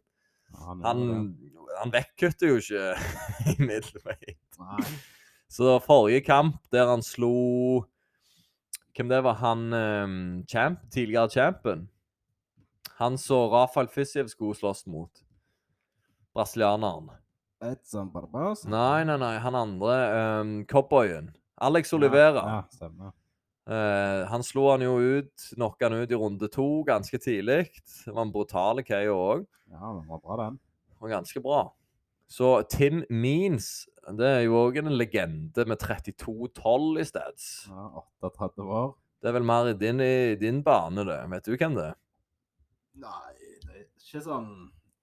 Speaker 2: Han, gjør
Speaker 1: Han,
Speaker 2: det.
Speaker 1: han vekkkutter jo ikke i middleweight.
Speaker 2: Nei.
Speaker 1: Så forrige kamp der han slo Hvem det var? Han ehm, champ, tidligere champion. Han som Rafael Fiziev skulle slåss mot. Brasilianeren.
Speaker 2: Edson Barbosa.
Speaker 1: Nei, nei, nei, han andre. ehm, Cowboyen. Alex Olivera.
Speaker 2: Ja, ja, stemmer.
Speaker 1: Eh, han slo han jo ut, knocka han ut i runde to ganske tidlig. Det var en brutal KO òg.
Speaker 2: Ja, den var bra, den.
Speaker 1: og ganske bra. Så Tim Means det er jo òg en legende med 32-12 i stedet.
Speaker 2: Ja, 38 år.
Speaker 1: Det er vel mer i din, i din bane, det. Vet du hvem det er?
Speaker 2: Nei, det er ikke sånn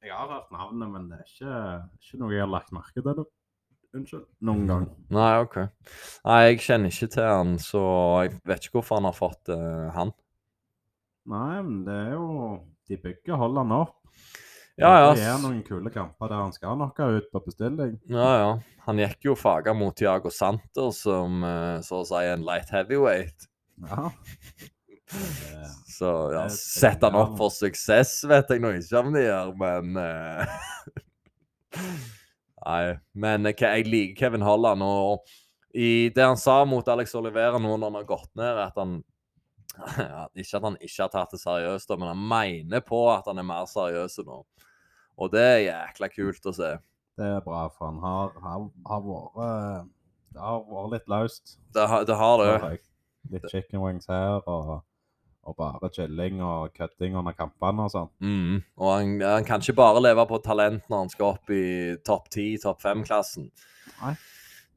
Speaker 2: Jeg har hørt navnet, men det er ikke, ikke noe jeg har lagt merke til. nå. Unnskyld. Noen gang.
Speaker 1: Nei, OK. Nei, jeg kjenner ikke til han, så jeg vet ikke hvorfor han har fått eh, han.
Speaker 2: Nei, men det er jo De bygger Holland opp.
Speaker 1: Ja, ja.
Speaker 2: Det er
Speaker 1: s-
Speaker 2: noen kule kamper der han skal knocke ut på bestilling.
Speaker 1: ja, ja. Han gikk jo faga mot Tiago Santer, som eh, så å si er en light heavyweight.
Speaker 2: Ja. Det,
Speaker 1: Så ja,
Speaker 2: Det er
Speaker 1: sett han opp
Speaker 2: spennende.
Speaker 1: for suksess, vet jeg nå ikke om de gjør, men eh, Nei. Men eh, Ke- jeg liker Kevin Holland, og i det han sa mot Alex Olivera nå når han har gått ned, at han at Ikke at han ikke har tatt det seriøst, da, men han mener på at han er mer seriøs nå. Og det er jækla kult å se.
Speaker 2: det er bra, for han har, har, har vært eh, Det har vært litt løst.
Speaker 1: Det, har- det har det.
Speaker 2: Har jeg Litt chicken wings her og, og bare chilling og kødding under kampene og sånn.
Speaker 1: Mm. Og han, han kan ikke bare leve på talent når han skal opp i topp 10, topp 5-klassen.
Speaker 2: Nei.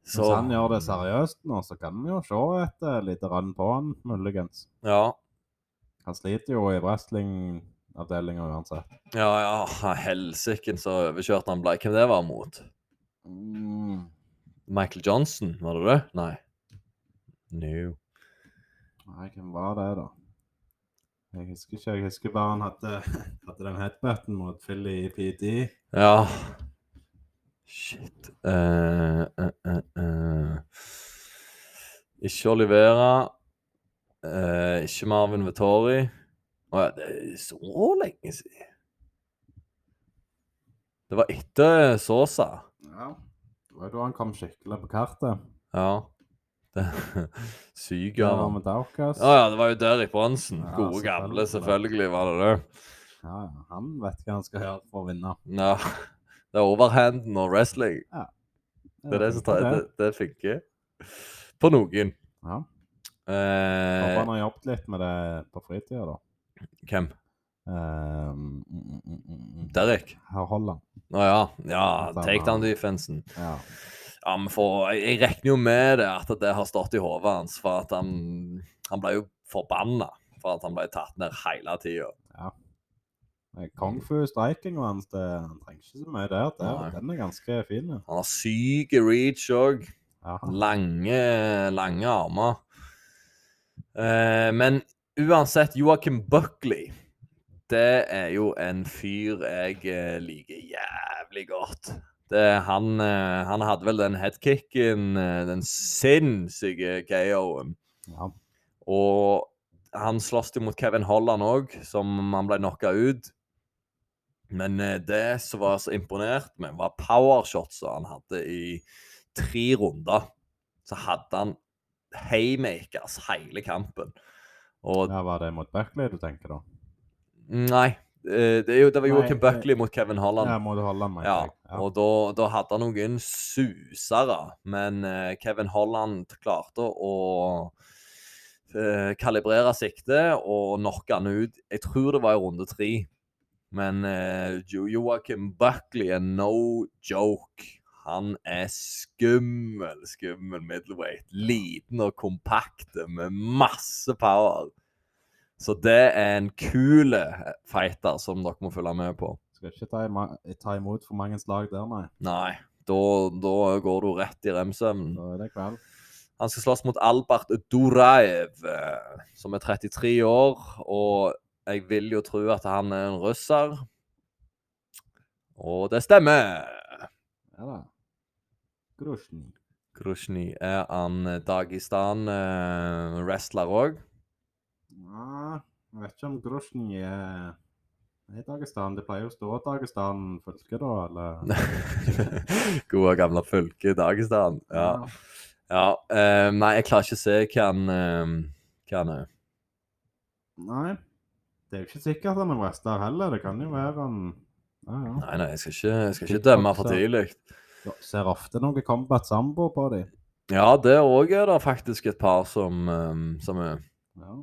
Speaker 2: Hvis han gjør det seriøst nå, så kan vi jo se et eh, lite rønn på han, muligens.
Speaker 1: Ja,
Speaker 2: Han sliter jo i wrestlingavdelinga uansett.
Speaker 1: ja, ja. Helsiken så overkjørt han ble. Hvem det var mot?
Speaker 2: Mm.
Speaker 1: Michael Johnson, var det det? Nei. No.
Speaker 2: Nei, hvem var det, da? Jeg husker ikke. Jeg husker bare han hadde, hadde den headbutton mot Philly i PD.
Speaker 1: Ja. Shit. Eh, eh, eh, eh. Ikke Olivera. eh, ikke Marvin Vettori. Å ja, det er så lenge siden. Det var etter Sosa.
Speaker 2: Ja. Det var jo da han kom skikkelig på kartet.
Speaker 1: Ja. Det, syk
Speaker 2: Det
Speaker 1: av
Speaker 2: var
Speaker 1: han.
Speaker 2: med Daukas.
Speaker 1: Ja, ja, det var jo Derrick Bronsen.
Speaker 2: Ja,
Speaker 1: Gode, gamle,
Speaker 2: selvfølgelig.
Speaker 1: selvfølgelig var det det.
Speaker 2: Ja, ja, han vet hva han skal gjøre for å vinne.
Speaker 1: Ja. Det er overhanden og wrestling. Det er det som tar Det,
Speaker 2: det.
Speaker 1: det funker. På noen.
Speaker 2: Ja. Håper
Speaker 1: Eh,
Speaker 2: han har jobbet litt med det på fritida, da.
Speaker 1: hvem?
Speaker 2: Eh, mm, mm, mm, mm, mm.
Speaker 1: Derek?
Speaker 2: Her holder han.
Speaker 1: Å ja. Ja,
Speaker 2: Samme.
Speaker 1: takedown-defensen.
Speaker 2: Ja.
Speaker 1: Ja, men for, jeg, jeg regner jo med det at det har stått i hodet hans, for at han, han ble jo forbanna for at han ble tatt ned hele tida.
Speaker 2: Eh, Kung fu strikinga hans, det han trenger ikke så mye der. der.
Speaker 1: Mm. Nei.
Speaker 2: Den er ganske fin. ja.
Speaker 1: Han har syk reach òg.
Speaker 2: Ja.
Speaker 1: Lange, lange armer. Eh, men uansett, Joachim Buckley det er jo en fyr jeg eh, liker jævlig godt. Det, han, eh, han hadde vel den headkicken, eh, den sinnssyke KO-en.
Speaker 2: Ja.
Speaker 1: Og han sloss jo mot Kevin Holland òg, som han ble knocka ut. Men eh, det som var så imponert med, var powershots han hadde i tre runder. Så hadde han haymakers hele kampen. Og
Speaker 2: ja, var det mot Berkeley du tenker, da?
Speaker 1: Nei. eh, Det, er jo, det var
Speaker 2: Nei,
Speaker 1: Joakim
Speaker 2: det-
Speaker 1: Buckley mot Kevin Holland.
Speaker 2: Ja, må du holde meg?
Speaker 1: Ja, og da, da hadde han noen susere, men eh, Kevin Holland klarte å eh, kalibrere siktet og knocke han ut. Jeg tror det var i runde tre. Men eh, jo Joakim Buckley er no joke. Han er skummel, skummel middleweight. Liten og kompakt med masse power. Så det er en kul fighter som dere må følge med på.
Speaker 2: Skal ikke ta, ima- ta imot for mange slag der, nei.
Speaker 1: Nei, da, da går du rett i remsøvnen.
Speaker 2: Da er det kveld.
Speaker 1: Han skal slåss mot Albert Duraev, eh, som er 33 år. Og jeg vil jo tro at han er en russer. Og det stemmer!
Speaker 2: Ja da. Grusjny.
Speaker 1: Grusjny er eh, en Dagestan-wrestler òg.
Speaker 2: Ja, jeg vet ikke om Grusjny er er i Dagestan. Det pleier jo å stå Dagestan fylke, da, eller
Speaker 1: Gode, gamle fylke Dagestan. Ja. ja eh, nei, jeg klarer ikke å se hva han eh, hva han er.
Speaker 2: Nei. Det er jo ikke sikkert han er wrestler heller. Det kan jo være han ja, ja.
Speaker 1: Nei, nei, jeg skal ikke, jeg skal ikke dømme for tidlig.
Speaker 2: Du ser ofte noe combat sambo på dem.
Speaker 1: Ja, det òg er det faktisk et par som, eh, som er
Speaker 2: Ja.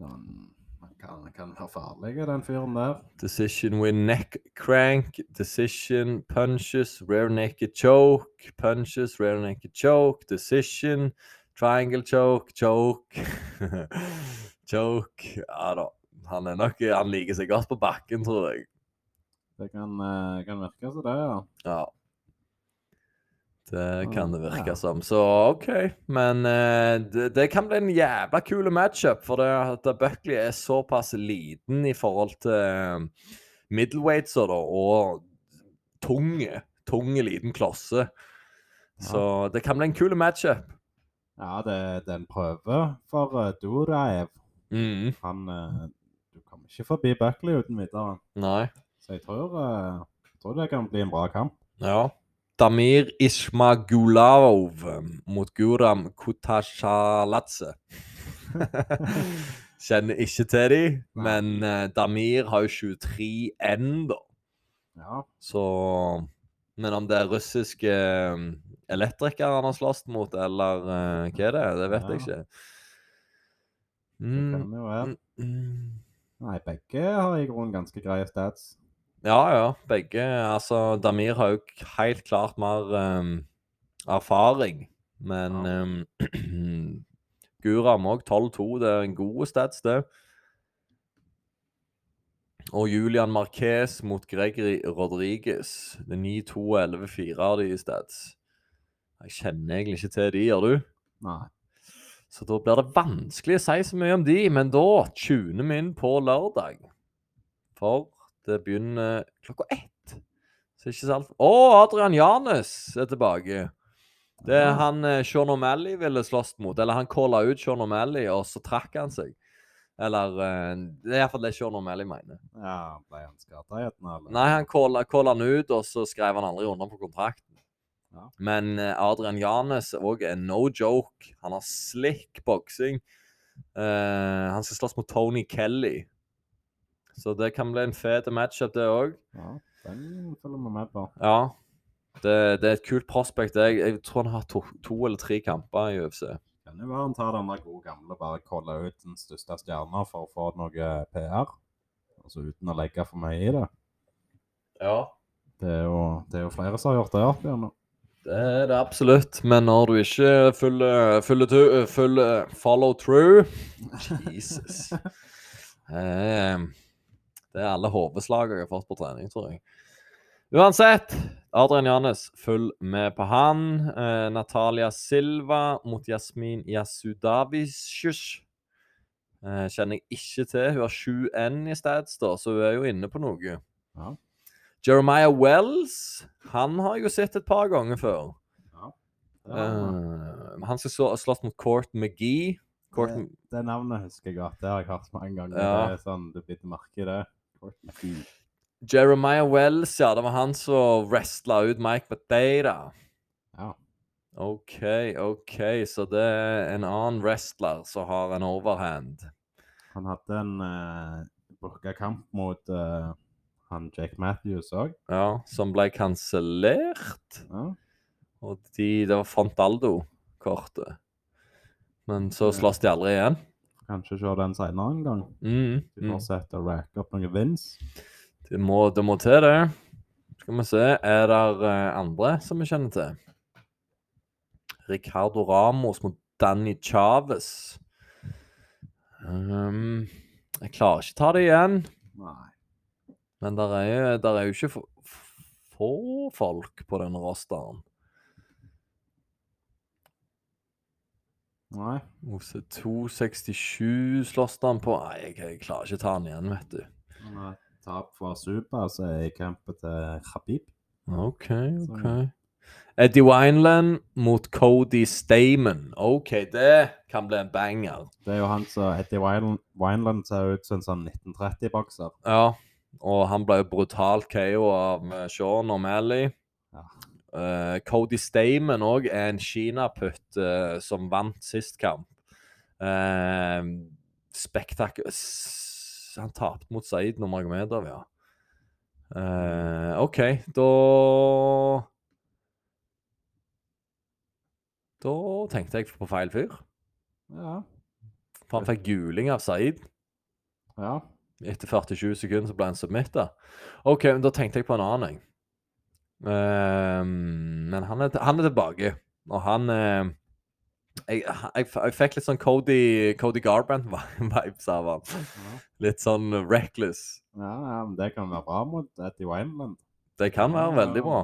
Speaker 2: Han, han, kan, han kan være farlig, den fyren der.
Speaker 1: Decision win neck crank, decision punches, rear naked choke, punches, rear naked choke, decision, triangle choke, choke Choke Ja da. Han er nok Han liker seg godt på bakken, tror jeg.
Speaker 2: Det kan, eh, kan virke som det, ja.
Speaker 1: Ja. Det kan det
Speaker 2: Ja.
Speaker 1: virke som. Så OK. Men eh, det, det kan bli en jævla kul matchup, for det at Buckley er såpass liten i forhold til middleweights og da, og tunge. Tunge, liten klosse. Så det kan bli en kul matchup.
Speaker 2: Ja, det, det er en prøve for uh, Duraev.
Speaker 1: Mm.
Speaker 2: Han eh, Du kommer ikke forbi Buckley uten videre.
Speaker 1: Nei.
Speaker 2: Så jeg tror, eh, jeg tror det kan bli en bra kamp.
Speaker 1: Ja. Damir Ismagulavov mot Guram Kutashaladze. Kjenner ikke til de,
Speaker 2: Nei.
Speaker 1: men eh, Damir har jo 23 ennå,
Speaker 2: Ja.
Speaker 1: så Men om det er russiske eh, elektrikere han har slåss mot, eller eh, hva er det, det vet jeg
Speaker 2: Ja.
Speaker 1: ikke.
Speaker 2: Det
Speaker 1: Mm,
Speaker 2: kan jo være.
Speaker 1: mm.
Speaker 2: Nei, begge har i grunnen ganske greie stats.
Speaker 1: Ja, ja. Begge. Altså, Damir har jo k- helt klart mer ehm, erfaring. Men
Speaker 2: Ja.
Speaker 1: ehm, Guram òg 12-2. Det er en god stats, det. Og Julian Marquez mot Gregory Rodriguez. Det er 9-2 og 11-4 av de i stats. Jeg kjenner egentlig ikke til de, gjør du?
Speaker 2: Nei.
Speaker 1: Så da blir det vanskelig å si så mye om de, men da tuner vi inn på lørdag. For det begynner klokka ett. Så ikke så alt Å, Adrian Janes er tilbake. Det er han eh, Sean O'Malley ville slåss mot. Eller han calla ut Sean O'Malley, og så trakk han seg. Eller eh, Det er iallfall det Sean O'Malley mener.
Speaker 2: Ja, ble han skada i et eller?
Speaker 1: Nei, han calla calla han ut, og så skrev han aldri under på kontrakten.
Speaker 2: Ja.
Speaker 1: Men eh, Adrian Janes òg er no joke. Han har slick boksing. Eh, han skal slåss mot Tony Kelly. Så det kan bli en fet matchup, det òg.
Speaker 2: Ja, den følger vi med på.
Speaker 1: Ja. Det, det er et kult prospect. Jeg, jeg tror han har to, to eller tre kamper i UFC.
Speaker 2: Kan jo være han tar den der gode gamle bare kolle ut den største stjerna for å få noe PR. Altså uten å legge for mye i det.
Speaker 1: Ja.
Speaker 2: Det er jo, det er jo flere som har gjort det opp igjennom.
Speaker 1: Det er det absolutt, men når du ikke følger, følger, tu- eh, følger follow through Jesus. Eh, Det er alle hodeslag jeg har fått på trening, tror jeg. Uansett, Adrian Janes, følg med på han. Eh, Natalia Silva mot Jasmin Yasudavicius. Eh, kjenner jeg ikke til. Hun har 7N i stats, da, så hun er jo inne på noe.
Speaker 2: Ja.
Speaker 1: Jeremiah Wells han har jeg jo sett et par ganger før.
Speaker 2: Det, var-
Speaker 1: Eh, han skal så, slåss mot Court McGee. Court,
Speaker 2: Det- det navnet husker jeg godt. Det har jeg hørt mange ganger.
Speaker 1: Ja.
Speaker 2: Det er sånn, Du biter merke i det.
Speaker 1: Jeremiah Wells, ja. Det var han som wrestla ut Mike Bateira.
Speaker 2: Ja.
Speaker 1: OK, OK. Så det er en annen wrestler som har en overhand.
Speaker 2: Han hadde en uh, booka kamp mot eh, han Jake Matthews òg.
Speaker 1: Ja, som ble kansellert.
Speaker 2: Ja.
Speaker 1: Og de, det var Fontaldo-kortet. Men så slåss de aldri igjen.
Speaker 2: Kanskje se den seinere en gang.
Speaker 1: Mm,
Speaker 2: Du
Speaker 1: mm.
Speaker 2: fortsetter å racke opp noen vins.
Speaker 1: Det, må, det må til, det. Skal vi se Er det andre som vi kjenner til? Ricardo Ramos mot Danny Chávez. Ehm, jeg klarer ikke ta det igjen.
Speaker 2: Nei.
Speaker 1: Men der er, jo- der er jo ikke få- få folk på den rosteren.
Speaker 2: Nei.
Speaker 1: OC 267 slåss han på. Nei, jeg, jeg klarer ikke ta han igjen, vet du.
Speaker 2: Han har et tap for Super, så er jeg i kampen til Khabib.
Speaker 1: OK,
Speaker 2: Så-
Speaker 1: OK. Eddie Wineland mot Cody Stamen. OK, det kan bli en banger.
Speaker 2: Det er jo han som Eddie Wineland, Wineland ser ut som en sånn 1930-bokser.
Speaker 1: Ja, og han ble jo brutalt KO av eh, Sean O'Malley.
Speaker 2: Ja.
Speaker 1: Eh, Cody Stamen òg er en kinaputt eh, som vant sist kamp. Uh, Spektakel... s- Han tapte mot Said Nurmagomedov, ja. Eh, OK, da Da tenkte jeg på feil fyr.
Speaker 2: Ja.
Speaker 1: For han fikk guling av Said.
Speaker 2: ja.
Speaker 1: Etter 47 sekunder så ble han submitta. OK, men da tenkte jeg på en annen, jeg. Ehm, men han er, han er tilbake, og han eh, jeg, jeg, jeg fikk litt sånn Cody, Cody Garbrandt-vibes av han.
Speaker 2: ja.
Speaker 1: Litt sånn reckless.
Speaker 2: Ja, ja, men det kan være bra mot Eddie Wineland.
Speaker 1: Det kan være veldig bra.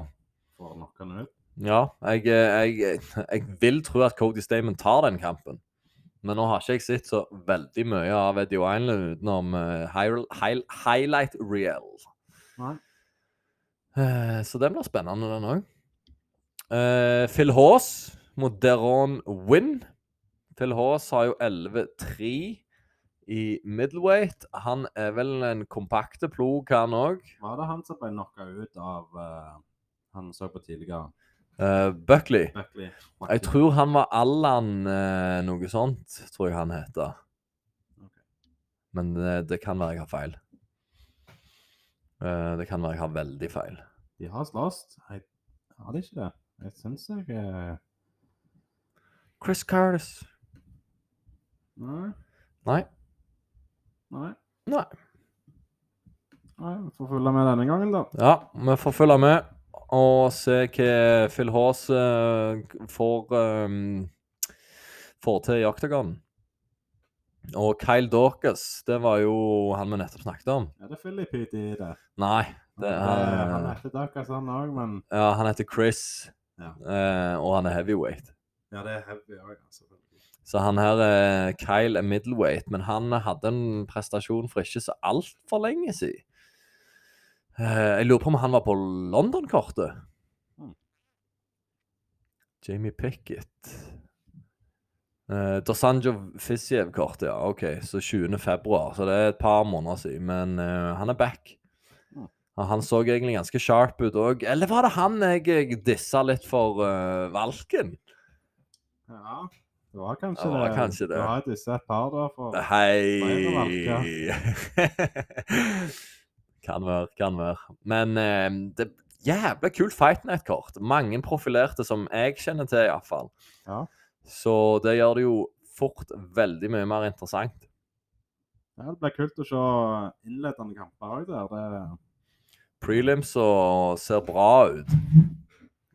Speaker 2: Får nok han ut.
Speaker 1: Ja, jeg, eh, jeg, jeg vil tro at Cody Stamen tar den kampen. Men nå har ikke jeg sett så veldig mye av Eddie Wineland utenom eh, highl- highl- highlight reel.
Speaker 2: Nei.
Speaker 1: Eh, Så den blir spennende, den òg. Phil Haas mot Deron Wynn. Phil Haas har jo 11-3 i middleweight. Han er vel en kompakte plog, han òg.
Speaker 2: Var det han som ble knocka ut av eh, han vi så på tidligere?
Speaker 1: Eh, Buckley.
Speaker 2: Buckley.
Speaker 1: Jeg tror han var Allan eh, noe sånt, tror jeg han heter.
Speaker 2: Ok.
Speaker 1: Men det, det kan være jeg har feil. Eh, det kan være jeg har veldig feil.
Speaker 2: De har slåss. Jeg hadde ikke det. Jeg syns jeg eh,
Speaker 1: Chris Curtis.
Speaker 2: Nei.
Speaker 1: Nei.
Speaker 2: Nei.
Speaker 1: Nei.
Speaker 2: Nei, Vi får følge med denne gangen, da.
Speaker 1: Ja, vi får følge med og se hva Phil Haas eh, får, ehm, får til i Octagon. Og Kyle Dorcas, det var jo han vi nettopp snakket om.
Speaker 2: Er det Filipid i det?
Speaker 1: Nei, det
Speaker 2: Eh, Han
Speaker 1: er,
Speaker 2: heter Duckas, han òg, men
Speaker 1: ja, han heter Chris,
Speaker 2: Ja.
Speaker 1: eh, og han er heavyweight.
Speaker 2: Ja, det er heavy òg, selvfølgelig.
Speaker 1: Så han her, eh, Kyle, er middleweight, men han hadde en prestasjon for ikke så altfor lenge siden. Eh, jeg lurer på om han var på London-kortet.
Speaker 2: Hmm.
Speaker 1: Jamie Pickett. Uh, Dosanjo Fisiev-kortet, ja. OK, så 20. februar. Så det er et par måneder siden, men eh, han er back.
Speaker 2: Hmm.
Speaker 1: Og Han så egentlig ganske sharp ut òg. Eller var det han jeg, jeg dissa litt for eh, valken?
Speaker 2: Ja, det var kanskje
Speaker 1: Det var kanskje det.
Speaker 2: Du har disse et par, da. For...
Speaker 1: Hei! kan være, kan være. Men eh, det er jævla kult Fight Night-kort. Mange profilerte som jeg kjenner til, iallfall.
Speaker 2: Ja.
Speaker 1: Så det gjør det jo fort veldig mye mer interessant.
Speaker 2: Ja, det blir kult å se innledende kamper òg der. Det...
Speaker 1: Prelims og ser bra ut.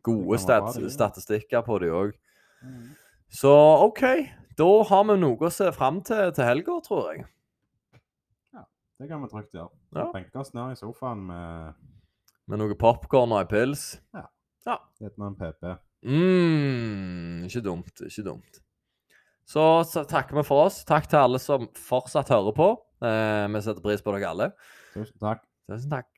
Speaker 1: Gode
Speaker 2: Det kan være bra,
Speaker 1: stat
Speaker 2: det, ja.
Speaker 1: statistikker på de òg.
Speaker 2: Mm.
Speaker 1: Så OK, da har vi noe å se fram til til helga, tror jeg.
Speaker 2: Det kan vi trygt gjøre.
Speaker 1: Ja.
Speaker 2: Benke oss ned i sofaen med
Speaker 1: Med noe popkorn og ei pils.
Speaker 2: litt med en PP.
Speaker 1: Mm, ikke dumt, ikke dumt. Så, så takker vi for oss. Takk til alle som fortsatt hører på. Eh, vi setter pris på dere alle.
Speaker 2: Tusen takk.
Speaker 1: Tusen takk.